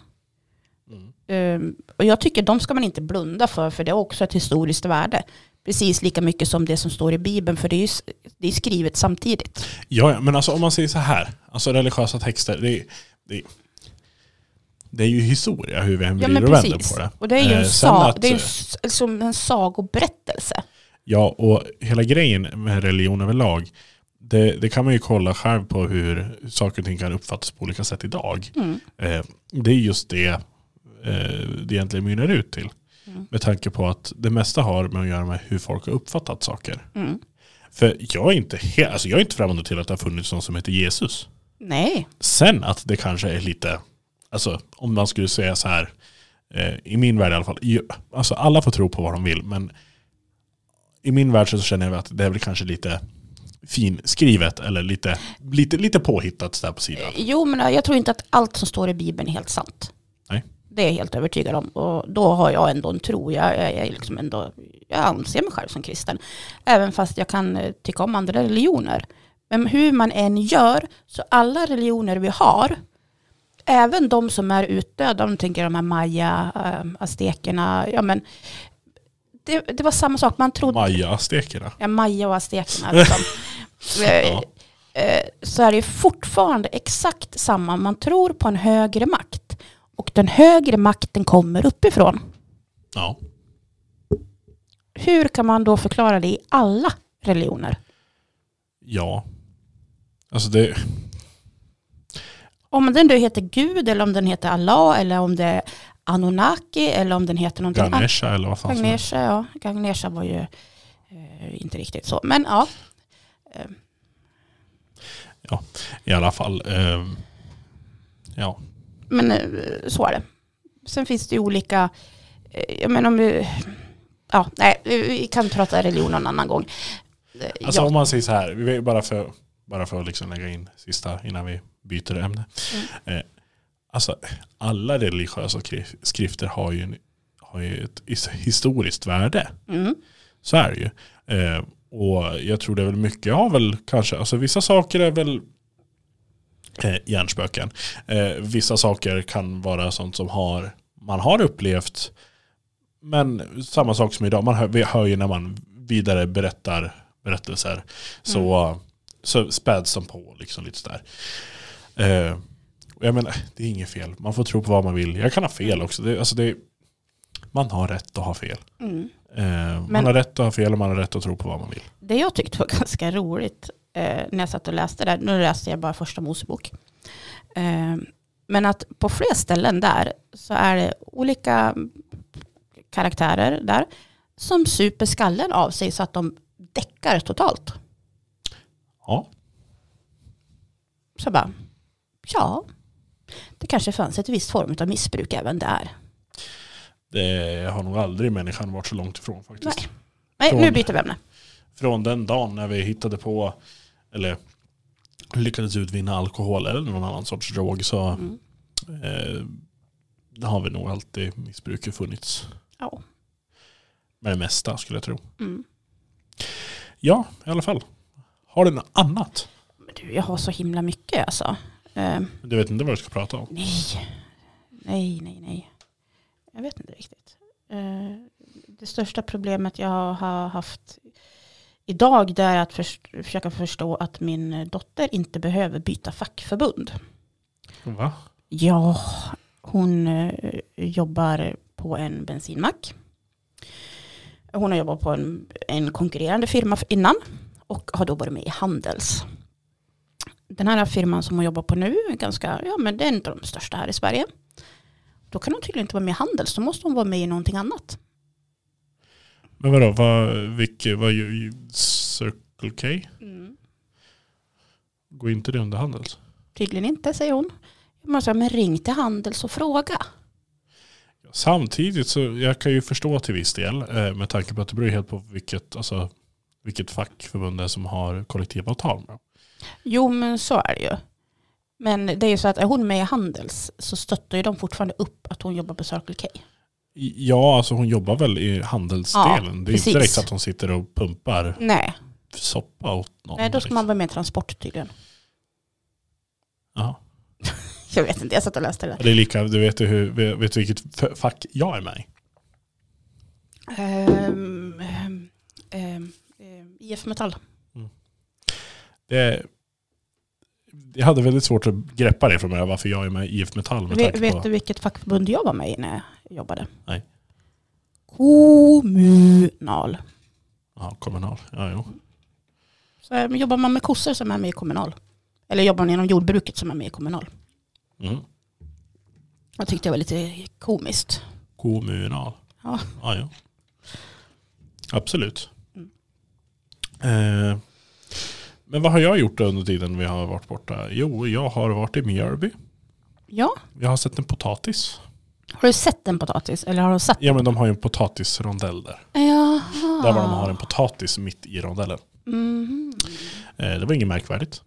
Mm.
Ehm, och jag tycker de ska man inte blunda för, för det är också ett historiskt värde. Precis lika mycket som det som står i Bibeln, för det är ju s- det är skrivet samtidigt.
Ja, ja, men alltså om man säger så här, alltså religiösa texter, det är, det är, det är ju historia hur vi än
Ja,
vrider
men
och vänder
precis.
på det.
Och det är ju
Eh,
en,
sen
sa-
att-
det är ju en, s- liksom en sagoberättelse.
Ja, och hela grejen med religion överlag, det, det kan man ju kolla själv på hur saker och ting kan uppfattas på olika sätt idag.
Mm.
Eh, det är just det eh, det egentligen mynnar ut till.
Mm.
Med tanke på att det mesta har med att göra med hur folk har uppfattat saker.
Mm.
För jag är inte, he- alltså jag är inte främmande till att det har funnits någon som heter Jesus.
Nej.
Sen att det kanske är lite, alltså om man skulle säga så här, eh, i min värld i alla fall, i, alltså alla får tro på vad de vill, men i min värld så känner jag att det är väl kanske lite finskrivet eller lite, lite, lite påhittat där på sidan.
Jo, men eh, jag tror inte att allt som står i Bibeln är helt sant.
Nej.
Det är jag helt övertygad om. Och då har jag ändå en tro. Jag, jag, jag, är liksom ändå, jag anser mig själv som kristen. Även fast jag kan eh, tycka om andra religioner. Men hur man än gör, så alla religioner vi har, även de som är utdöda, om du tänker de här maya, eh, aztekerna, ja men det, det var samma sak. Man trodde
Maya-aztekerna.
ja, Maja och aztekerna. Liksom. Eh,
Ja.
eh, Så är det ju fortfarande exakt samma. Man tror på en högre makt. Och den högre makten kommer uppifrån.
Ja.
Hur kan man då förklara det i alla religioner?
ja. Alltså det,
Om den då heter Gud eller om den heter Allah eller om det är Anunnaki eller om den heter någonting annat.
Ganesha alltså. eller vad fan som helst.
Gagnesha, ja. Gagnesha var ju eh, inte riktigt så. Men ja. Eh,
I alla fall. ehm, ja.
Men eh, så är det. sen finns det ju olika, eh, jag menar om vi, ja, nej, vi- vi kan prata religion någon annan gång. Eh,
Alltså
ja.
om man säger så här, vi vet- bara för, bara för att liksom lägga in sista innan vi byter ämne.
Mm.
Eh, alltså alla religiösa skri- skrifter har ju, en, har ju ett his- historiskt värde.
Mm.
Så är det ju. Eh, och jag tror det är väl mycket av väl kanske, alltså vissa saker är väl eh, hjärnspöken. Eh, vissa saker kan vara sånt som har, man har upplevt. Men samma sak som idag, man hör, vi hör ju när man vidare berättar berättelser så, så späds de på liksom lite sådär. Eh, och jag menar, det är inget fel. Man får tro på vad man vill. Jag kan ha fel också. Det, alltså det, man har rätt att ha fel.
Mm.
Eh, man
Men-
har rätt att ha fel och man har rätt att tro på vad man vill.
Det jag tyckte var ganska roligt eh, när jag satt och läste där, nu läste jag bara första Mosebok, eh, men att på fler ställen där så är det olika karaktärer där som super skallen av sig så att de däckar totalt.
Ja,
Så jag bara, ja, det kanske fanns ett visst form av missbruk även där.
det har nog aldrig människan varit så långt ifrån faktiskt.
Nej, Nej nu byter vi ämne.
Från den dagen när vi hittade på, eller lyckades utvinna alkohol eller någon annan sorts drog så
Mm.
eh, det har vi nog alltid missbruket funnits.
Ja.
Med det mesta skulle jag tro.
Mm.
Ja, i alla fall. Har du något annat?
Men du, jag har så himla mycket alltså. Eh,
Du vet inte vad du ska prata om?
Nej, nej, nej, nej. Jag vet inte riktigt. Eh, Det största problemet jag har- har haft idag det är att först, försöka förstå att min dotter inte behöver byta fackförbund.
Va?
Ja, hon eh, jobbar på en bensinmack. Hon har jobbat på en, en konkurrerande firma f- innan och har då varit med i Handels. Den här firman som hon jobbar på nu är ganska, ja men det är en av de största här i Sverige. Då kan hon tydligen inte vara med i Handels, då måste hon vara med i någonting annat.
Men vadå, vad, vilke, vad, ju- ju- Circle K? Går inte det under Handels?
Tydligen inte, säger hon. Man säger, men ring till Handels och fråga.
Samtidigt så jag kan ju förstå till viss del eh, med tanke på att det beror ju helt på vilket, alltså, vilket fackförbund det är som har kollektivavtal med.
Jo, men så är det ju. Men det är ju så att är hon med i Handels så stöttar ju de fortfarande upp att hon jobbar på Circle K.
I- Ja, alltså hon jobbar väl i handelsdelen. det är
precis.
inte direkt så att hon sitter och pumpar
Nej,
soppa åt någon.
Nej då ska man
liksom.
vara med i Transport tydligen.
Jaha.
Jag vet inte, jag satt och läste det.
Och Det är lika, du vet, ju hur, vet du vilket f- fack jag är med i?
Ehm, ehm, ehm, ehm, IF Metall.
Det, jag hade väldigt svårt att greppa det från början varför jag är med i IF Metall. Med
Vet,
tanke
vet
på,
du vilket fackförbund jag var med i när jag jobbade?
Nej.
Kommunal.
Ja, kommunal. Ja, jo.
Så, ehm, jobbar man med kossor som är med i Kommunal? Eller jobbar man inom jordbruket som är med i Kommunal?
Mm.
Jag tyckte det var lite komiskt.
Kommunal.
Ja.
Ja, ja. Absolut.
Mm.
Eh, men vad har jag gjort då under tiden vi har varit borta? Jo, jag har varit i Mjölby.
Ja,
Jag har sett en potatis.
har du sett en potatis? Eller har du sett?
Ja men de har ju en potatisrondell där.
Jaha.
Där var de har en potatis mitt i rondellen.
Mhm.
Eh, det var inget märkvärdigt.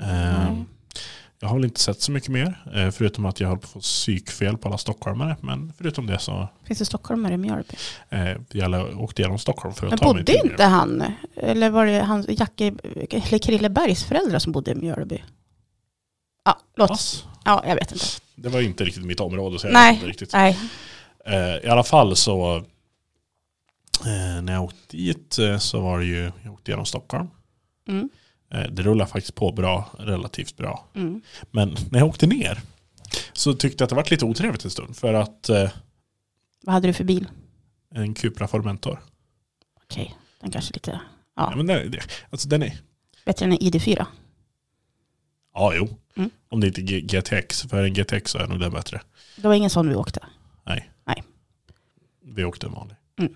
Eh,
Nej.
jag har väl inte sett så mycket mer. Eh, förutom att jag höll på att få psykfel på alla stockholmare. Men förutom det så
Finns det stockholmare i Mjölby?
eh, jag lä- åkte igenom Stockholm för att
Men
ta mig
bodde
till Mjölby.
inte han, eller var det han, Jacke, eller Krille Bergs föräldrar som bodde i Mjölby? Ja, låt,
Pass.
ja jag vet inte.
Det var ju inte riktigt mitt område så jag
Nej.
vet inte riktigt.
Nej.
Eh, I alla fall så eh, när jag åkte dit eh, så var det ju, jag åkte genom Stockholm.
Mm,
Eh, det rullade faktiskt på bra, relativt bra.
mm.
Men när jag åkte ner så tyckte jag att det var lite otrevligt en stund för att eh,
Vad hade du för bil?
en Cupra Formentor.
Okej, den kanske lite
Ja.
Ja.
men den, det- alltså den är,
bättre än en ID4.
ja jo.
Mm.
Om det inte är G- GTX, för en GTX så är nog den bättre.
Det var ingen sån vi åkte.
Vi åkte en vanlig.
Mm.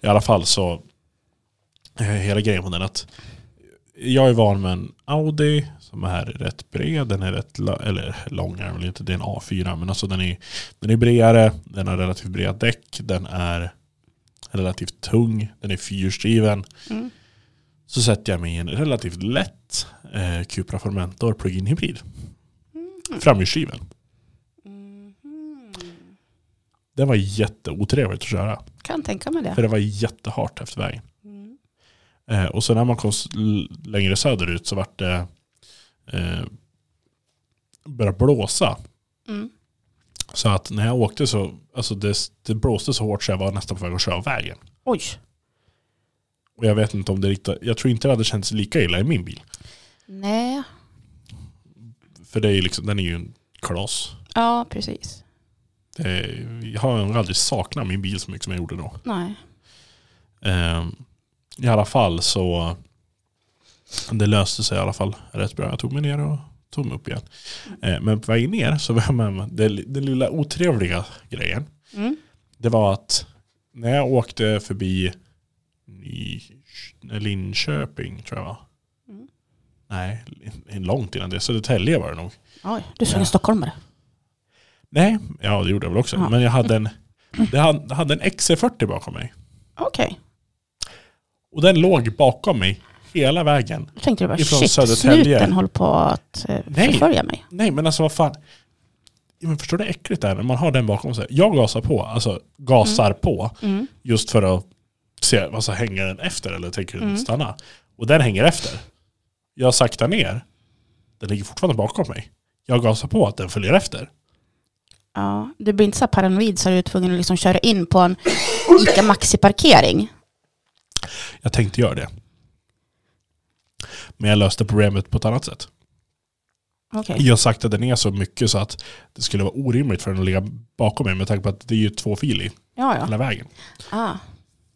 I alla fall så, eh, hela grejen var den att jag är van med en Audi som är rätt bred. Den är rätt la- eller lång är den väl inte, det är en A4. Men alltså den är, den är bredare, den har relativt breda däck, den är relativt tung, den är fyrhjulsdriven.
Mm.
Så sätter jag mig i en relativt lätt eh, Cupra Formentor plug-in hybrid. Framhjulsdriven.
Mhm.
Den var jätteotrevligt att köra.
Kan tänka mig det.
För det var jättehart efter vägen.
Mm.
Eh, och sen när man kom s- l- längre söderut så vart det eh, började blåsa.
Mm.
Så att när jag åkte så, alltså det, det blåste så hårt så jag var nästan på väg att köra av vägen.
Oj.
Och jag vet inte om det riktigt, jag tror inte det hade känts lika illa i min bil.
Nej.
För det är ju liksom, den är ju en kloss.
Ja, precis.
Det är- Jag har nog aldrig saknat min bil så mycket som jag gjorde då.
Nej.
Ehm, I alla fall så det löste sig i alla fall rätt bra. Jag tog mig ner och tog mig upp igen. Ehm, men på vägen ner så var jag med om den, den lilla otrevliga grejen.
Mm.
Det var att när jag åkte förbi Ny, eh, Linköping tror jag va?
Mm.
Nej, långt innan det. Södertälje var det nog.
Oj, du såg
Ja.
en stockholmare.
Nej, ja det gjorde jag väl också.
Ja.
Men jag hade en, det hade, hade en XC40 bakom mig.
Okej.
Och den låg bakom mig hela vägen.
Då tänkte du bara
Ifrån
shit,
Södertälje.
snuten håller på att eh,
Nej.
förfölja mig.
Nej men alltså vad fan. Ja, Men förstår du hur äckligt det är när man har den bakom sig? Jag gasar på, alltså gasar på
Mm.
just för att se, alltså hänger den efter eller tänker den
Mm.
stanna? Och den hänger efter. Jag saktar ner, den ligger fortfarande bakom mig. Jag gasar på att den följer efter.
Ja, du blir inte så här paranoid så du är tvungen att liksom köra in på en Ica Maxi-parkering.
Jag tänkte göra det. Men jag löste problemet på ett annat sätt.
Okej.
Jag saktade ner så mycket så att det skulle vara orimligt för den att ligga bakom mig med tanke på att det är ju två fil i
Ja, ja.
hela vägen.
Ah.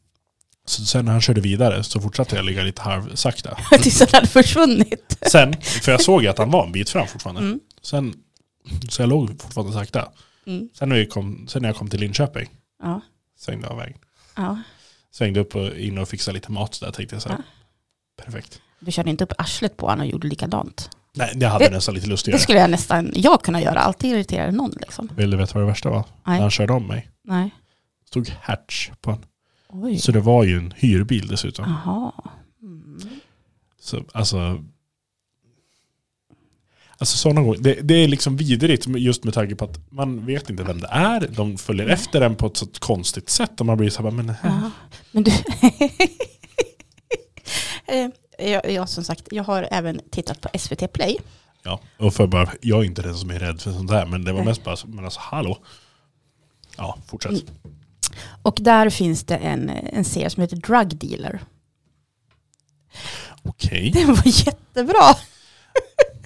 Så sen när han körde vidare så fortsatte jag ligga lite halvsakta.
Tills den hade försvunnit.
Sen, för jag såg ju att han var en bit fram fortfarande.
Mm.
Sen, så jag låg fortfarande sakta.
Mm.
Sen när, vi kom, sen när jag kom till Linköping
Ja.
svängde jag av vägen.
ja.
Svängde upp och in och fixade lite mat där tänkte jag så här.
Ah.
Perfekt.
Du körde inte upp arslet på honom och gjorde likadant.
Nej, det hade
Det-
nästan lite
Det
lustigare.
skulle jag nästan jag kunna göra. Alltid irriterar någon liksom.
Vill du veta vad det värsta var?
Nej.
När han körde om mig
Nej.
stod Hatch på en.
Oj.
Så det var ju en hyrbil dessutom.
Jaha. Mm.
Så, alltså, alltså sådana gånger, det, det är liksom vidrigt med- just med tanke på att man vet inte vem det är. De följer efter en på ett så konstigt sätt. Och man blir så här, men
Ja. Men du... Eh, jag, jag, som sagt, jag har även tittat på SVT Play.
ja. Och för bara, jag är inte den som är rädd för sånt där. Men det var
Nej.
mest bara, så, men alltså hallå. Ja, fortsätt.
Mm. Och där finns det en, en serie som heter Drug Dealer.
Okej.
Den var jättebra.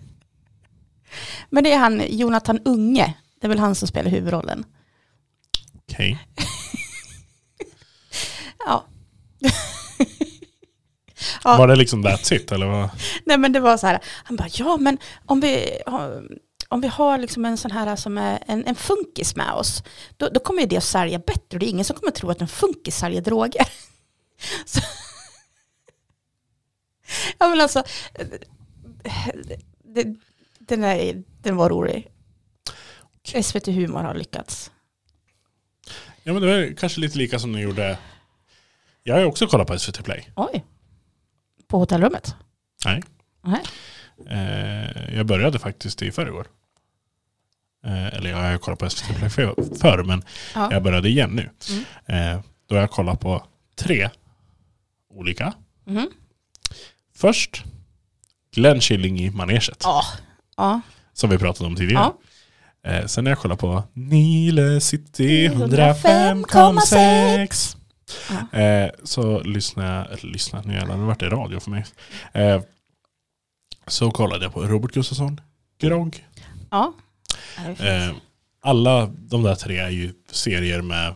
Men det är han, Jonathan Unge. Det är väl han som spelar huvudrollen.
Okej.
Ja. Ja.
Var det liksom that's it? Eller vad?
Nej men det var så här, han bara, ja men om vi, har- om vi har liksom en sån här som är en, en funkis med oss, då, då kommer ju det att sälja bättre. Det är ingen som kommer tro att en funkis säljer droger. Så. Ja men alltså, det, den, är, den var rolig. SVT Humor har lyckats.
Ja men det var kanske lite lika som ni gjorde. Jag har ju också kollat på SVT Play.
Oj. På hotellrummet?
Nej.
Nej.
Eh, jag började faktiskt i förrgår. Eh, eller jag har ju kollat på SVT Play för- förr, men
Ja. Mm.
jag började igen nu. Eh, då har jag kollat på tre olika. Mm.
Mhm.
Först Glenn Killing i manegen,
Ja. Ja.
som vi pratade om tidigare. Eh, sen har jag kollat på Nile City 105,6. Eh, så lyssnade jag, eller lyssnade, nu jävlar, nu vart det radio för mig. Eh, så kollade jag på Robert Gustafsson, Grogg,
Ja. Ja, det är fint.
Eh, alla de där tre är ju serier med,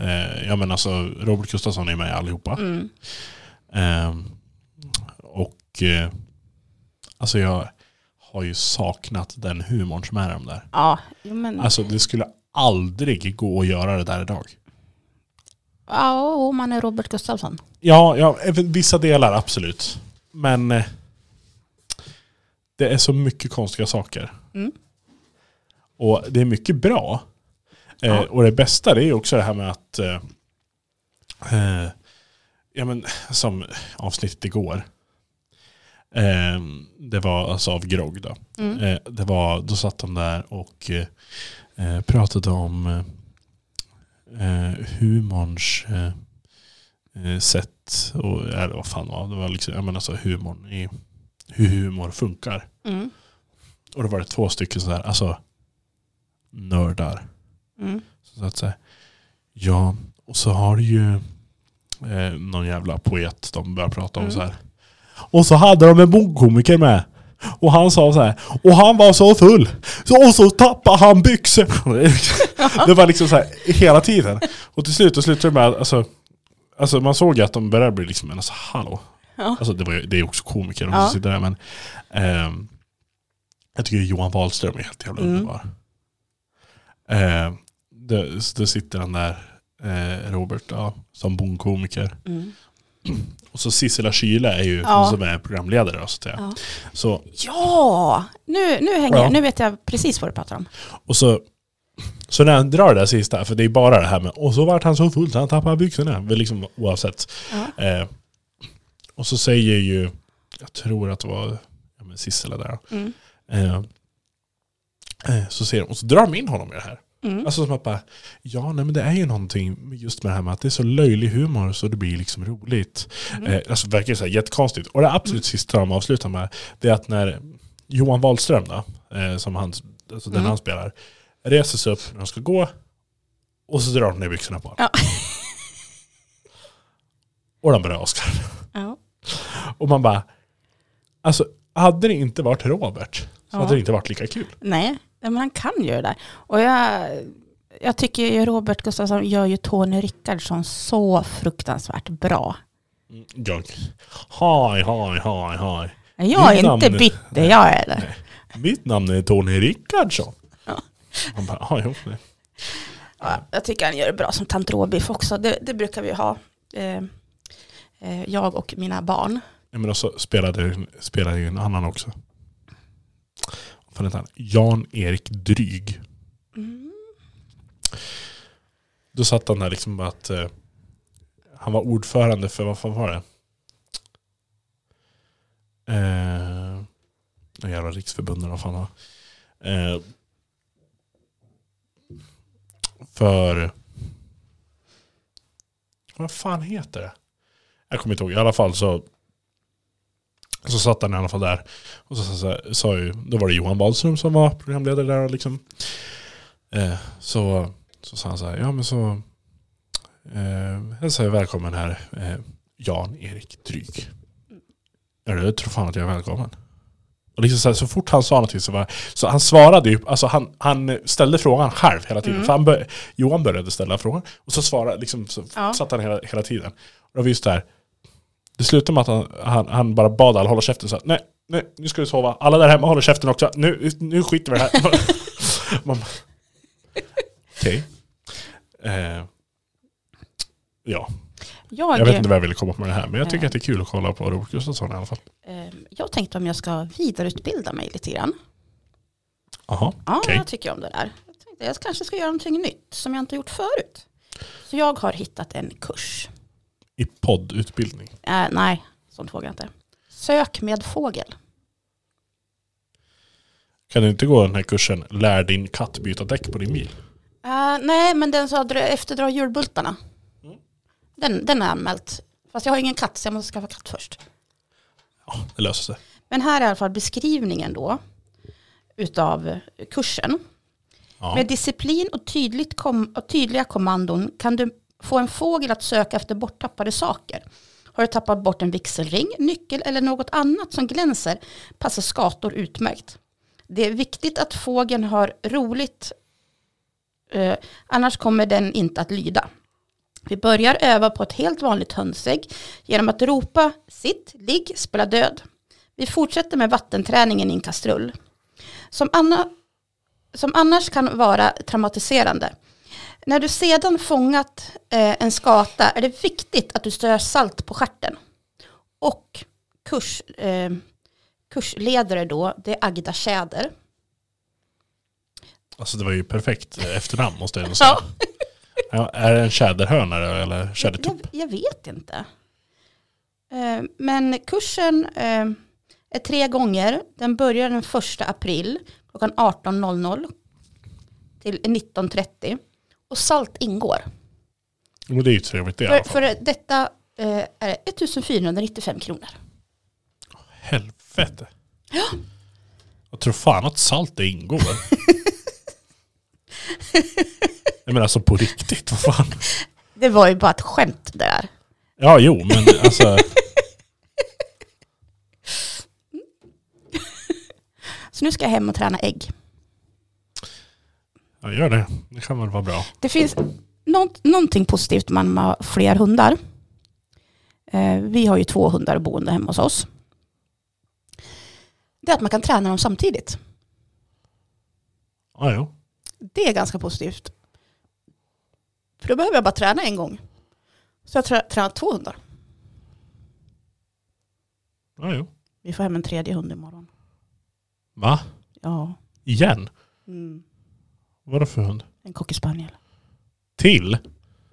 eh, ja men alltså Robert Gustafsson är med i allihopa.
Mm.
Eh, och eh, alltså jag har ju saknat den humorn som är i de där.
Ja, jo, men
Alltså det skulle aldrig gå att göra det där idag.
ja, om man är Robert Gustafsson.
Ja, ja även vissa delar absolut. Men eh, Det är så mycket konstiga saker.
Mm.
Och det är mycket bra. Eh,
Ja.
Och det bästa det är ju också det här med att eh, eh, ja, men, som avsnittet igår. Eh, det var alltså av Grogg då.
Mm.
Eh, det var, då satt de där och eh, eh, pratade om eh, eh, humorns eh, eh, sätt. Och, eller vad fan var det? var liksom, jag menar alltså humorn i, hur humor funkar.
Mm.
Och då var det två stycken sådär, alltså nördar.
Mm.
Så att säga. Ja, och så har du ju eh, någon jävla poet de börjar prata om
Mm.
så här. Och så hade de en bondkomiker med. Och han sa så här. Och han var så full. Så, och så tappade han byxor. det var liksom så här hela tiden. Och till slut, då slutade det med att alltså, alltså man såg ju att de började bli liksom, men alltså hallå.
Ja.
Alltså det, var, ju- det är ju också komiker de
Ja.
som sitter där men. ehm, jag tycker Johan Wahlström är helt jävla
Mm.
underbar. Eh, då, så då sitter han där, eh, Robert, ja, som bondkomiker.
Mm.
Och så Sissela Kyle är ju
Ja.
hon som är programledare. då, Så, att säga.
Ja.
så,
Ja, nu, nu hänger
Ja.
jag. Nu vet jag precis vad du pratar om.
och så, så när han drar det där sista, för det är bara det här med och så vart han så full så han tappade byxorna. Väl Liksom, oavsett.
Ja.
Eh, och så säger ju, jag tror att det var ja, men Sissela där.
Mm.
Eh, eh, så ser de, och så drar de in honom i det här.
Mm.
Alltså som att bara, ja nej men det är ju någonting med just med det här med att det är så löjlig humor så det blir liksom roligt.
Mm.
Eh, alltså verkar så här jättekonstigt. Och det absolut sista de avslutar med, det är att när Johan Wahlström då, eh, som han, alltså den
Mm.
han spelar, reser sig upp när de ska gå och så drar de ner byxorna på honom.
Ja.
Och de börjar avskaffa.
Ja.
Och man bara, alltså hade det inte varit Robert så
Ja.
hade det inte varit lika kul.
Nej, men han kan ju det där. Och jag, jag tycker ju Robert Gustafsson gör ju Tony Rickardsson så fruktansvärt bra.
Mm, Jag, haj, haj, haj, haj.
Jag
Ditt
är inte
namn-
bitter, jag är det.
Mitt namn är Tony Rickardsson.
Ja.
Man bara, ja, jo, nej.
Ja, jag tycker han gör det bra som tant Råbiff också. Det, det brukar vi ha. Eh, eh, jag och mina barn.
Nej, men också spelade, spelade ju en annan också. Vad fan heter han? Jan-Erik Dryg.
Mm.
Då satt han där liksom bara att eh, han var ordförande för, vad fan var det? Eh, någon jävla riksförbund eller vad fan var eh, För vad fan heter det? Jag kommer inte ihåg. I alla fall så så satt han i alla fall där. Och så, så, så, sa ju, då var det Johan Wahlström som var programledare där. och Liksom. Eh, så så sa han så här, ja men så eh, hälsar jag välkommen här eh, Jan-Erik Dryg. Ja du tror fan att jag är välkommen. Och liksom så, här, så fort han sa någonting så var så han svarade ju, alltså han, han ställde frågan själv hela tiden.
Mm.
För han bör, Johan började ställa frågan och så svarade, liksom, så
Ja.
satt han hela, hela tiden. Och då var just det här, det slutade med att han, han, han bara bad alla hålla käften så här, nej, nej, nu ska du sova. Alla där hemma håller käften också. Nu, nu skiter vi i det här. Man bara, Okej. Eh, ja,
Jag,
jag vet inte vad jag ville komma på med det här. Men jag tycker
Eh.
att det är kul att kolla på Robert Gustafsson i alla fall.
eh, jag tänkte om jag ska vidareutbilda mig lite grann.
Aha,
Ja,
Okej.
jag tycker om det där. Jag, tänkte, jag kanske ska göra någonting nytt som jag inte gjort förut. Så jag har hittat en kurs.
I poddutbildning.
Eh, nej, sånt vågar jag inte. Sök med fågel.
Kan du inte gå den här kursen Lär din katt byta däck på din bil?
Eh, nej, men den som dra- efterdrar julbultarna.
Mm.
Den, den har jag anmält. Fast jag har ingen katt så jag måste skaffa katt först.
Ja, det löser sig.
Men här är i alla fall beskrivningen då utav kursen.
Ja.
Med disciplin och, tydligt kom och tydliga kommandon kan du få en fågel att söka efter borttappade saker. Har du tappat bort en vigselring, nyckel eller något annat som glänser passar skator utmärkt. Det är viktigt att fågeln har roligt, eh, annars kommer den inte att lyda. Vi börjar öva på ett helt vanligt hönsägg genom att ropa sitt, ligg, spela död. Vi fortsätter med vattenträningen i en kastrull. Som Anna, som annars kan vara traumatiserande. När du sedan fångat eh, en skata är det viktigt att du strör salt på stjärten. Och kurs, eh, kursledare då, det är Agda Tjäder.
Alltså det var ju perfekt eh, efternamn måste jag ändå säga. Ja, är det en tjäderhörna då, eller tjädertupp?
Jag, jag vet inte. Eh, Men kursen eh, är tre gånger. Den börjar den 1 april klockan 18.00 till 19.30. Och salt ingår.
Jo, det är ju trevligt det i alla
För,
fall.
för detta eh, är 1495 kronor.
Helvete. Jag tror fan att salt det ingår. Nej men alltså på riktigt, vad fan.
Det var ju bara ett skämt det där.
Ja jo men alltså.
Så nu ska jag hem och träna ägg.
Ja, gör det. Det kan väl vara bra.
Det finns nånt, någonting positivt med att man har fler hundar. Eh, vi har ju två hundar boende hemma hos oss. Det är att man kan träna dem samtidigt.
Ja, jo.
Det är ganska positivt. För då behöver jag bara träna en gång. Så jag trä- tränar två hundar.
Ja, jo.
Vi får hem en tredje hund imorgon.
Va?
Ja.
Igen?
Mm.
Vadå för hund?
En cockerspaniel.
Till?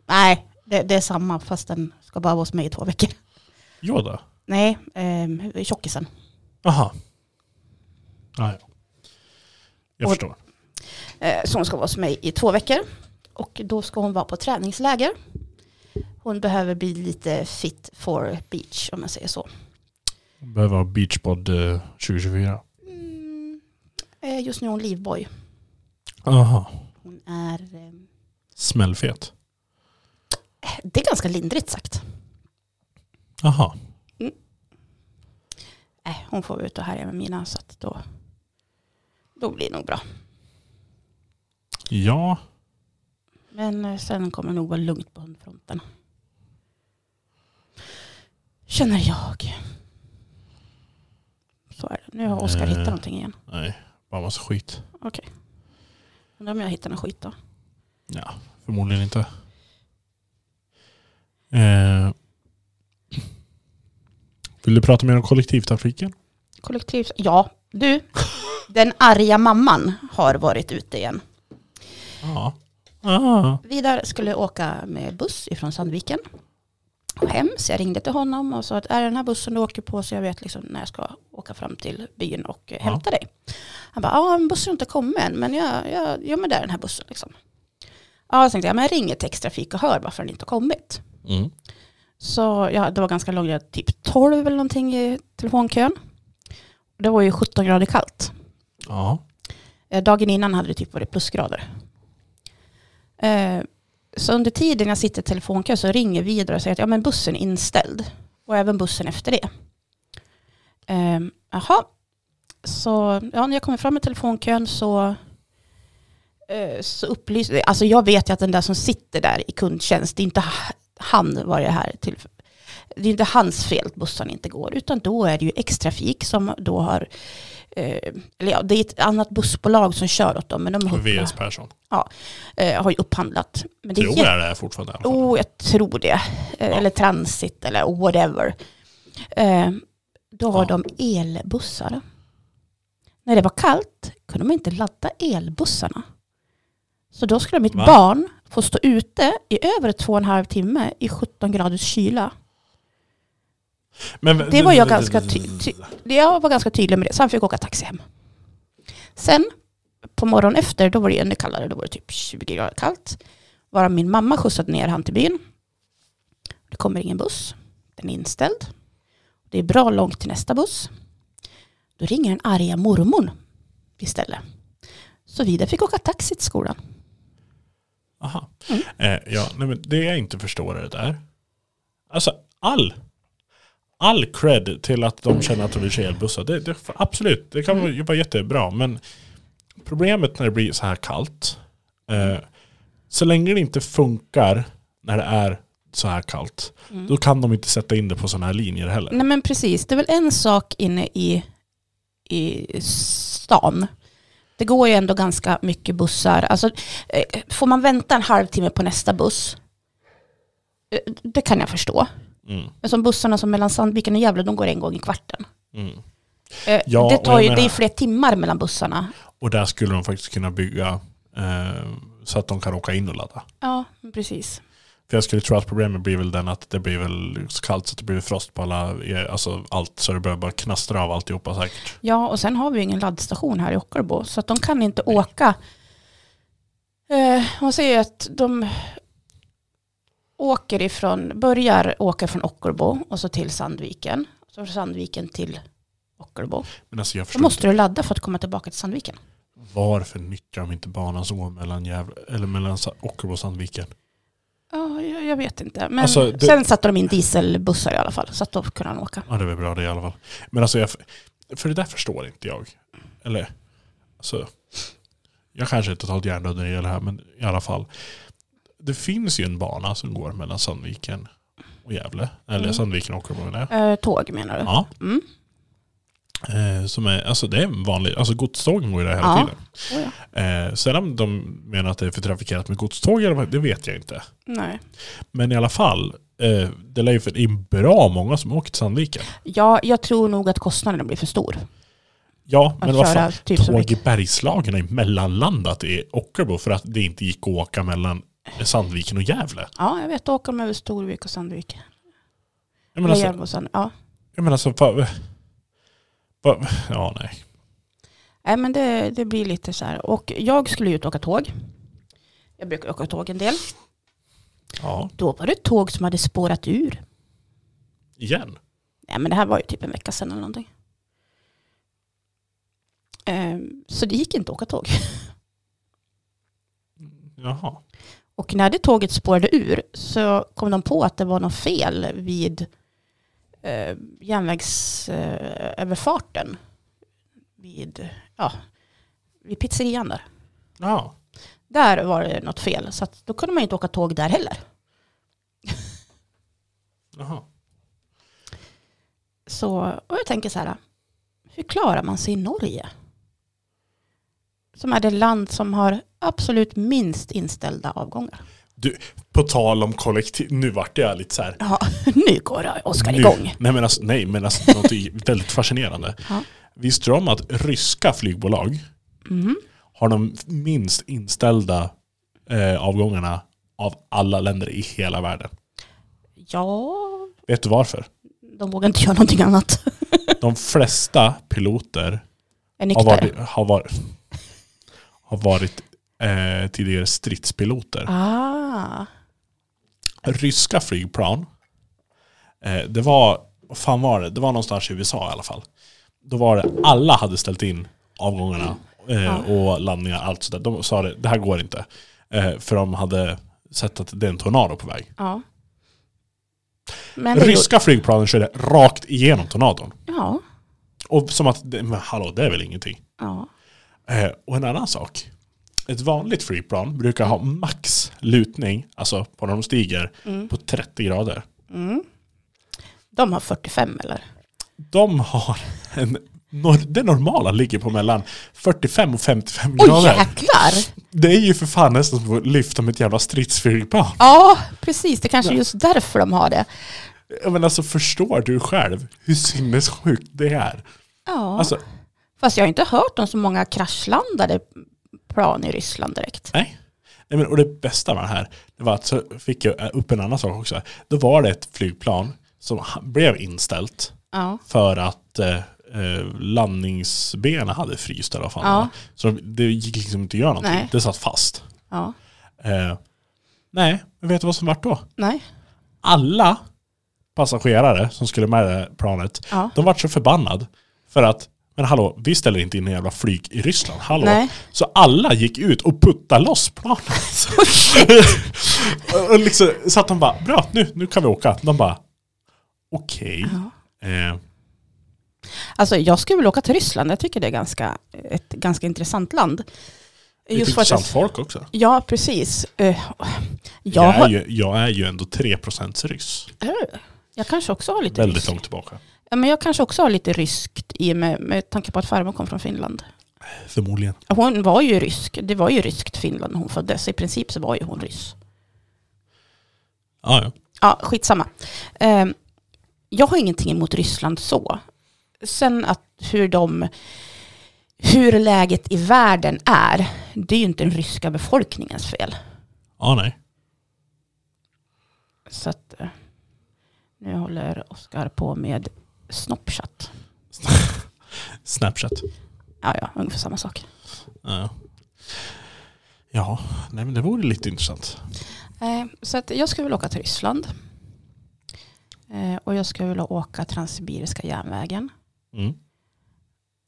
Nej, det, det är samma fast den ska bara vara hos mig i två veckor.
Yoda?
Nej, eh, tjockisen.
Aha. Ja, jo. Jag
Och-
förstår.
eh, som ska vara hos mig i två veckor. Och då ska hon vara på träningsläger. Hon behöver bli lite fit for beach om man säger så.
Behöver ha beachbod eh, 2024.
Mm, eh, just nu är hon livboj.
Aha.
Hon är, eh,
Smällfet.
det är ganska lindrigt sagt.
Aha.
Eh, hon får vara ute och härja med mina så att då, då blir det nog bra.
Ja.
Men eh, sen kommer det nog vara lugnt på hundfronten. Känner jag. Så är det. Nu har Oskar
Eh.
hittat någonting igen.
Nej. Bara massa skit.
Undrar om jag hittar någon skit då.
Ja, förmodligen inte. Eh. Vill du prata mer om kollektivtrafiken?
Kollektiv... Ja, du. Den arga mamman har varit ute igen.
Ja. Ah.
Vidar skulle åka med buss ifrån Sandviken och hem. Så jag ringde till honom och sa att är det den här bussen du åker på så jag vet liksom när jag ska åka fram till byn och eh,
Ja.
hämta dig. Han bara, ja men bussen har inte kommit än men jag, jag, ja, men det är den här bussen liksom. Ja, jag tänkte jag, men jag ringer Textrafik och hör varför den inte har kommit.
Mm.
Så ja, det var ganska långt, jag typ 12 eller någonting i telefonkön. Det var ju 17 grader kallt.
Ja.
Eh, Dagen innan hade det typ varit plusgrader. Eh, Så under tiden jag sitter i telefonkö så ringer Vidar och säger att ja, men bussen är inställd. Och även bussen efter det. Eh, Jaha, så ja, när jag kommer fram i telefonkön så, eh, så upplyser... Alltså jag vet ju att den där som sitter där i kundtjänst, det är inte h- han var det här till. Det är inte hans fel att bussen inte går, utan då är det ju X-trafik som då har eh, eller ja, det är ett annat bussbolag som kör åt dem, men de har,
VS Persson.
eh, har ju upphandlat. Men det är
Tror
jätte-
jag det är fortfarande i alla fall.
Oh, jag tror det. Eh, Eller transit eller whatever. Eh, då har
Ja.
de elbussar. När det var kallt kunde man inte ladda elbussarna. Så då skulle mitt
Va?
barn få stå ute i över två och en halv timme i 17 graders kyla.
Men,
Det var jag ganska ty- ty- Jag var ganska tydlig med det, så han fick åka taxi hem. Sen på morgonen efter, då var det ännu kallare, då var det typ 20 grader kallt. Varav min mamma skjutsade ner han till byn. Det kommer ingen buss, den är inställd. Det är bra långt till nästa buss. Då ringer den arga mormon istället. Så Vidar fick åka taxi till skolan.
Aha.
Mm.
Eh, ja, nej, men det jag inte förstår är det där. Alltså all, all cred till att de känner att de vill köra elbussar. Det, det, absolut, det kan ju vara jättebra. Men problemet när det blir så här kallt, eh, så länge det inte funkar när det är så här kallt, då kan de inte sätta in det på sådana här linjer heller.
Nej men precis, det är väl en sak inne i, i stan. Det går ju ändå ganska mycket bussar. Alltså, eh, får man vänta en halvtimme på nästa buss, eh, det kan jag förstå.
Mm,
Men som bussarna som mellan Sandviken och Gävle, de går en gång i kvarten.
mm.
Eh,
Ja,
det,
och
tar
jag
ju,
menar-
det är flera timmar mellan bussarna.
Och där skulle de faktiskt kunna bygga eh, så att de kan åka in och ladda.
Ja, men Mm, precis.
För jag skulle tro att problemet blir väl den att det blir väl så kallt så att det blir frost på alla, eh, alltså allt så det börjar bara knastra av alltihopa säkert.
Ja, och sen har vi ju ingen laddstation här i Ockelbo, så att de kan inte åka. Eh, hon säger ju att de åker ifrån, börjar åka från Ockelbo och så till Sandviken. Så från Sandviken till Ockelbo.
Men alltså
Då
jag förstår inte,
måste du ladda för att komma tillbaka till Sandviken.
varför nyttjar de inte banan som går mellan, Gävle, eller mellan Sa- Ockelbo och Sandviken?
Ja, jag, jag vet inte. Men
Alltså, det-
sen satte de in dieselbussar i alla fall, så att då kunde han åka.
Ja det är väl bra det i alla fall. Men alltså jag, för det där förstår inte jag. Eller, alltså, jag kanske är totalt hjärndöd när det gäller det här men i alla fall. Det finns ju en bana som går mellan Sandviken och Gävle. Eller
Mm.
Sandviken och Ockelbo menar jag.
Eh, tåg menar du?
Ja.
Mm.
Eh, som är, alltså det är en vanlig, alltså godstågen går ju där hela
Ja.
tiden.
Oh, ja.
Eh, sen om de menar att det är för trafikerat med godståg eller vad, det vet jag inte.
Nej.
Men i alla fall, eh, det lär ju för in bra många som åker till Sandviken.
Ja, jag tror nog att kostnaden blir för stor.
Ja,
Att
men vad
köra
fan,
typ som
tåg i Bergslagen har ju mellanlandat i Ockelbo för att det inte gick att åka mellan Sandviken och Gävle.
Ja, jag vet. Då åker de över Storvik och Sandvik.
Jag
Men
menar, alltså,
och Sand... ja.
jag menar så, fa, fa, ja nej.
Nej, men det, det blir lite så här. Och jag skulle ut och åka tåg. Jag brukar åka tåg en del.
Ja,
Då var det ett tåg som hade spårat ur.
igen.
Nej, men det här var ju typ en vecka sedan eller någonting. Ehm, så det gick inte att åka tåg.
Jaha.
Och när det tåget spårade ur så kom de på att det var något fel vid eh, järnvägsöverfarten. Eh, överfarten. vid, ja, vid pizzerian där.
Ja.
Där var det något fel, så att då kunde man ju inte åka tåg där heller.
Jaha.
Så, och jag tänker så här, hur klarar man sig i Norge? Som är det land som har absolut minst inställda avgångar.
På tal om kollektiv, nu vart jag lite så här.
Ja, nu går Oskar
Nu-
igång.
Nej men alltså, nej, men alltså något i- väldigt fascinerande.
Ja.
Visste du om att ryska flygbolag
Mhm.
har de minst inställda eh, avgångarna av alla länder i hela världen?
Ja,
Vet du varför?
de vågar inte göra någonting annat.
De flesta piloter
Är
har
nykter.
varit, har varit, har varit eh, tidigare stridspiloter.
Ah,
Ryska flygplan, eh, det var, vad fan var det? Det var någonstans i USA i alla fall. Då var det, alla hade ställt in avgångarna eh,
Ja.
och landningar, allt sådär. De sa det, det här går inte. Eh, för de hade sett att det är en tornado på väg.
ja. Men det
Ryska flygplanen körde rakt igenom tornadon.
gjorde- Ja,
Och som att, det- men hallå, det är väl ingenting.
ja.
Eh, och en annan sak. Ett vanligt flygplan brukar ha max lutning, alltså på när de stiger, på 30 grader.
Mm. De har 45 eller?
De har en, nor- det normala ligger på mellan 45 och 55
Oj
grader.
jäklar!
Det är ju för fan nästan som att lyfta med ett jävla stridsflygplan.
Ja, precis. Det kanske är just därför de har det.
Ja, Men alltså förstår du själv hur sinnessjukt det är?
Ja.
Alltså,
Fast jag har inte hört om så många kraschlandade plan i Ryssland direkt.
Nej. Nej men, och det bästa var det här, det var att så fick jag eh, upp en annan sak också. Då var det ett flygplan som ha- blev inställt
Ja.
för att eh, eh, landningsbenen hade fryst eller vad fan det
Ja.
var. Så de- det gick liksom inte att göra någonting.
Nej.
Det satt fast.
ja.
Eh, nej, men vet du vad som vart då?
Nej.
Alla passagerare som skulle med det här planet,
Ja.
de vart så förbannad för att men hallå, vi ställer inte in en jävla flyg i Ryssland. Hallå.
Nej.
Så alla gick ut och puttade loss planet. Och- och liksom, så att de bara, bra nu, nu kan vi åka. De bara, okej.
Ja.
Eh,
Alltså jag skulle vilja åka till Ryssland. Jag tycker det är ganska, ett ganska intressant land.
lite
för att-
intressant folk också.
Ja, precis. Eh, Jag,
Jag är,
har...
ju, jag är ju ändå 3% ryss.
Eh, jag kanske också har lite
Väldigt
rysk-
långt tillbaka.
Ja, men jag kanske också har lite ryskt i med, med tanke på att farmor kom från Finland.
Förmodligen.
Hon var ju rysk. Det var ju ryskt Finland när hon föddes. I princip så var ju hon ryss.
Ja, ja.
Ehm, Ja, skitsamma. Eh, jag har ingenting emot Ryssland så. sen att hur de hur läget i världen är, det är ju inte den ryska befolkningens fel.
Ja, nej.
Så att eh, nu håller Oskar på med Snapchat.
Snapchat.
Ja, ja, ungefär samma sak.
Ja. Ja, nej men det vore lite intressant.
Eh, så att jag skulle vilja åka till Ryssland. Eh, och jag skulle vilja åka Transsibiriska järnvägen.
Mm.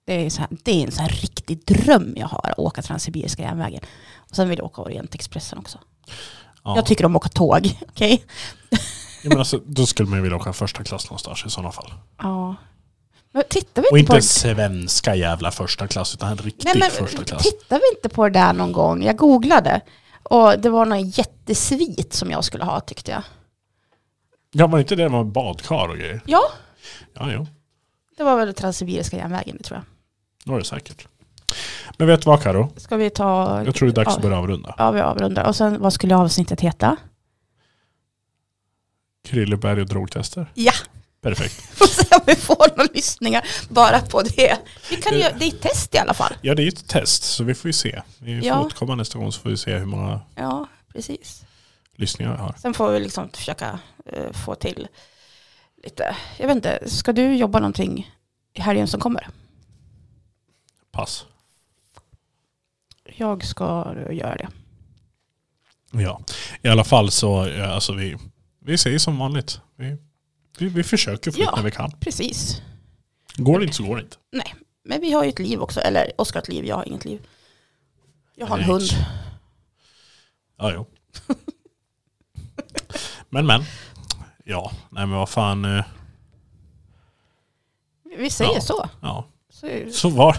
Det är, så här, det är en så här riktig dröm jag har, att åka Transsibiriska järnvägen. Och sen vill jag åka Orientexpressen också.
Ja.
Jag tycker om att åka tåg, okej?
ja, men alltså, då skulle man ju vilja åka första klass någonstans i sådana fall.
Ja. Men tittar vi
Och
inte på
inte svenska jävla första klass utan en riktig
Nej, men
första klass.
tittar vi inte på det där någon gång? Jag googlade och det var någon jättesvit som jag skulle ha tyckte jag.
Ja, var inte det med badkar och grejer?
Ja,
Ja, jo.
det var väl Transsibiriska järnvägen det tror jag.
Det var det säkert. Men vet du vad Karo?
Ska vi ta...
Jag tror det är dags
Ja.
att börja avrunda.
Ja, vi avrundar. Och sen vad skulle avsnittet heta?
Krylleberg och drogtester.
Ja.
Perfekt.
Får se om vi får några lyssningar bara på det. Vi kan ju,
Det-
göra- det är ett test i alla fall.
Ja, det är ju ett test så vi får ju se. Vi får
Ja.
återkomma nästa gång så får vi se hur många
Ja, precis.
lyssningar jag har.
Sen får vi liksom försöka eh, få till lite. Jag vet inte, ska du jobba någonting i helgen som kommer?
Pass.
Jag ska eh, göra det.
Ja, i alla fall så, ja, alltså vi, vi säger som vanligt. Vi, vi, vi försöker få
Ja.
ut när vi kan.
Precis.
Går det inte så går det inte.
Nej, men vi har ju ett liv också. Eller Oskar har ett liv, jag har inget liv. Jag har en
Nej.
hund.
Ja, jo. men, men. Ja, nej men vad fan. eh,
Vi säger
Ja.
så.
Ja,
så.
så var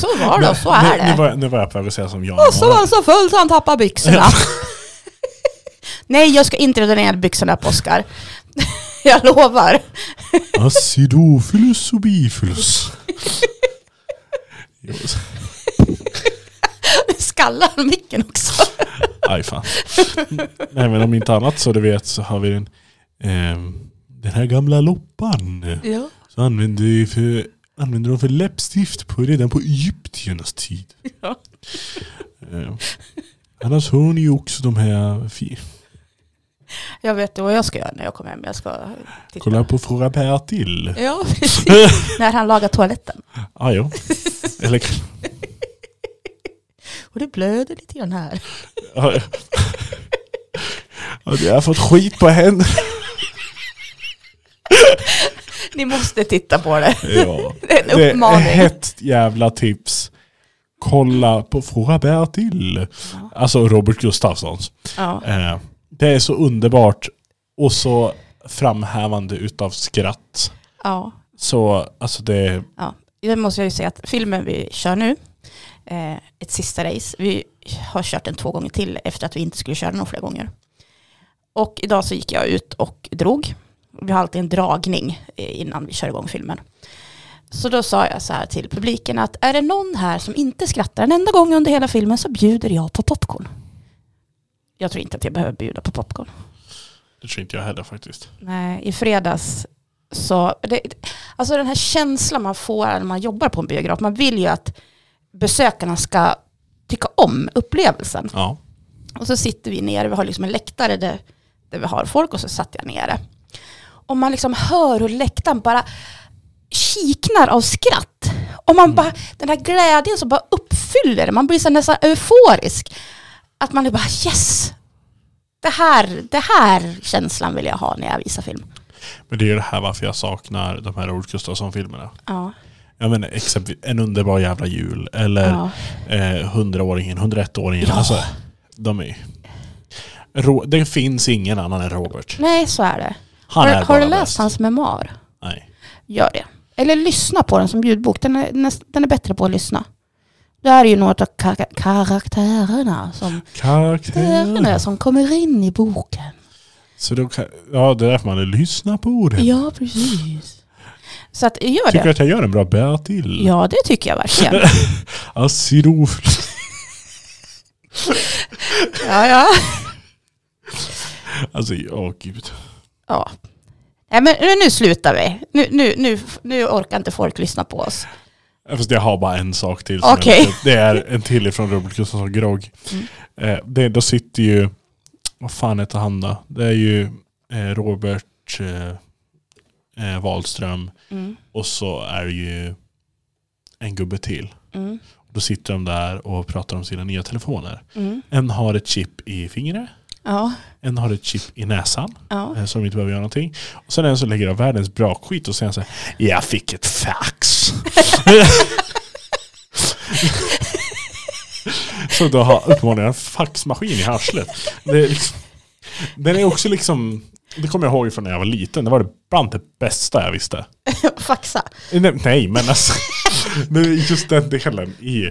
Så var det och så är
Nu, nu,
det.
var, jag- nu var jag på väg att säga som Jan.
Och så var han så full så han tappade byxorna. Nej, jag ska inte dra ner byxorna på Oskar. jag lovar.
Acidophilus och bifilus. Jo, så-
Skallar han micken också?
Aj fan. Nej men om inte annat så du vet så har vi den, ehm, den här gamla loppan. eh,
Ja.
Så använde, vi för, använde de för läppstift på, redan på egyptiernas tid.
Ja.
Eh, annars hör ni ju också de här, fi-
Jag vet vad jag ska göra när jag kommer hem. Jag ska titta.
kolla på Fråga Per till.
Ja, precis. när han lagar toaletten.
Ah, jo. Eller,
Och det blöder lite grann här.
ah, ja. Ah, jag har fått skit på henne.
Ni måste titta på det.
Ja.
Det är en
Det är
uppmaning.
hett jävla tips. Kolla på Fråga Per till.
Ja.
Alltså Robert Gustafssons.
Ja.
Eh, det är så underbart och så framhävande utav skratt.
ja.
Så alltså det,
Ja, det måste jag ju säga att filmen vi kör nu, eh, ett sista race, vi har kört den två gånger till efter att vi inte skulle köra den flera gånger. Och idag så gick jag ut och drog. Vi har alltid en dragning eh, innan vi kör igång filmen. Så då sa jag så här till publiken att är det någon här som inte skrattar en enda gång under hela filmen så bjuder jag på popcorn. Jag tror inte att jag behöver bjuda på popcorn.
det tror inte jag heller faktiskt.
Nej, i fredags så... Det, alltså den här känslan man får när man jobbar på en biograf, man vill ju att besökarna ska tycka om upplevelsen.
Ja.
Och så sitter vi nere, vi har liksom en läktare där, där vi har folk och så satt jag nere. Och man liksom hör hur läktaren bara kiknar av skratt. Och man bara, den här glädjen som bara uppfyller en. man blir så nästan euforisk. Att man är bara yes! Det här, det här känslan vill jag ha när jag visar film.
Men det är ju det här varför jag saknar de här Robert Gustafsson-filmerna.
Ja.
Jag menar exempelvis En underbar jävla jul eller
Ja.
eh, 100-åringen, 101-åringen.
Ja.
Alltså, de är ju- Ro- Det finns ingen annan än Robert.
Nej, så är det.
Han
har
är
har du
bara
läst
bäst.
hans memoar?
Nej.
Gör det. Eller lyssna på den som ljudbok. Den är, näst, den är bättre på att lyssna. Det här är ju något av kar- karaktärerna som,
Karaktärerna.
karaktärerna som kommer in i boken.
Så då kan, ja, det är därför man lyssnar på det.
Ja, precis. Så att, gör
Tycker du
det.
att jag gör en bra Bertil?
Ja, det tycker jag verkligen.
Acidof.
Ja, ja.
Alltså, åh gud.
ja. Nej men nu, nu slutar vi. Nu, nu, nu, nu orkar inte folk lyssna på oss.
Ja, Eh, Fast jag har bara en sak till. som
Okej. Mm.
jag vet. Det är en till ifrån Rubbelkusten som grogg. Eh, det, då sitter ju, vad fan heter han då? Det är ju eh, Robert eh, eh, Wahlström
Mm.
och så är det ju en gubbe till.
Mm.
Då sitter de där och pratar om sina nya telefoner.
Mm.
En har ett chip i fingret,
Ja,
en har ett chip i näsan
ja.
eh, så de inte behöver göra någonting. Och sen är det en som lägger av världens bra skit och säger så här, jag fick ett fax. så då har uppenbarligen en faxmaskin i arslet. Det är liksom, den är också liksom, det kommer jag ihåg från när jag var liten, det var det bland det bästa jag visste.
Faxa.
Nej, nej men alltså. nu är Just den delen i,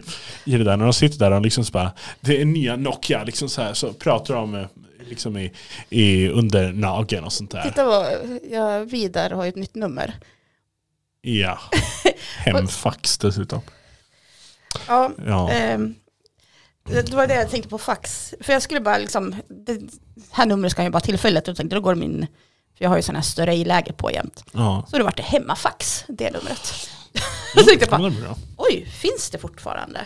i det där. När de sitter där och liksom så bara, det är nya Nokia, liksom så, här, så pratar de eh, liksom i, i under nageln och sånt där.
Titta vad, jag Vidar har ju ett nytt nummer.
Ja. Hemfax dessutom.
Ja,
Ja.
ehm, det det var det jag tänkte på fax. För jag skulle bara liksom, det här numret ska jag ju bara tillfället. Jag tänkte då går min, för jag har ju sådana här större i-läger på jämt.
ja.
Så då vart det hemmafax, det numret. Jag tänkte
Ja,
bara,
det blir bra.
oj, finns det fortfarande?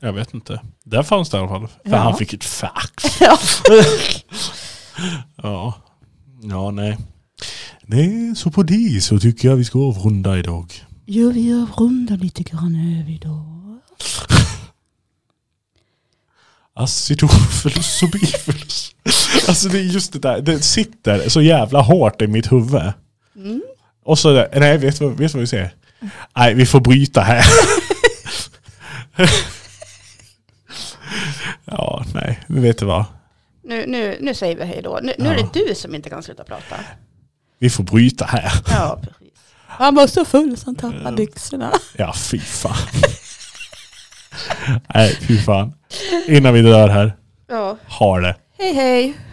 Jag vet inte. Där fanns det i alla fall. För
Ja.
han fick ett fax.
Ja.
Ja. Ja, nej. Nej, så på det så tycker jag vi ska avrunda idag.
Jo, vi avrundar lite grann över idag.
Acetofelus och bifilus. Alltså det är just det där, det sitter så jävla hårt i mitt huvud.
Mm.
Och så, där, nej vet du vad, vet du vad vi säger? Nej vi får bryta här. ja, nej, men vet du vad?
Nu, nu, nu säger vi hej då. Nu, nu är det du som inte kan sluta prata.
Vi får bryta här.
Ja, precis. Han var så full så han tappade byxorna.
Ja, fy fan. nej, fy fan. Innan vi dör här,
Ja,
ha det.
hej hej.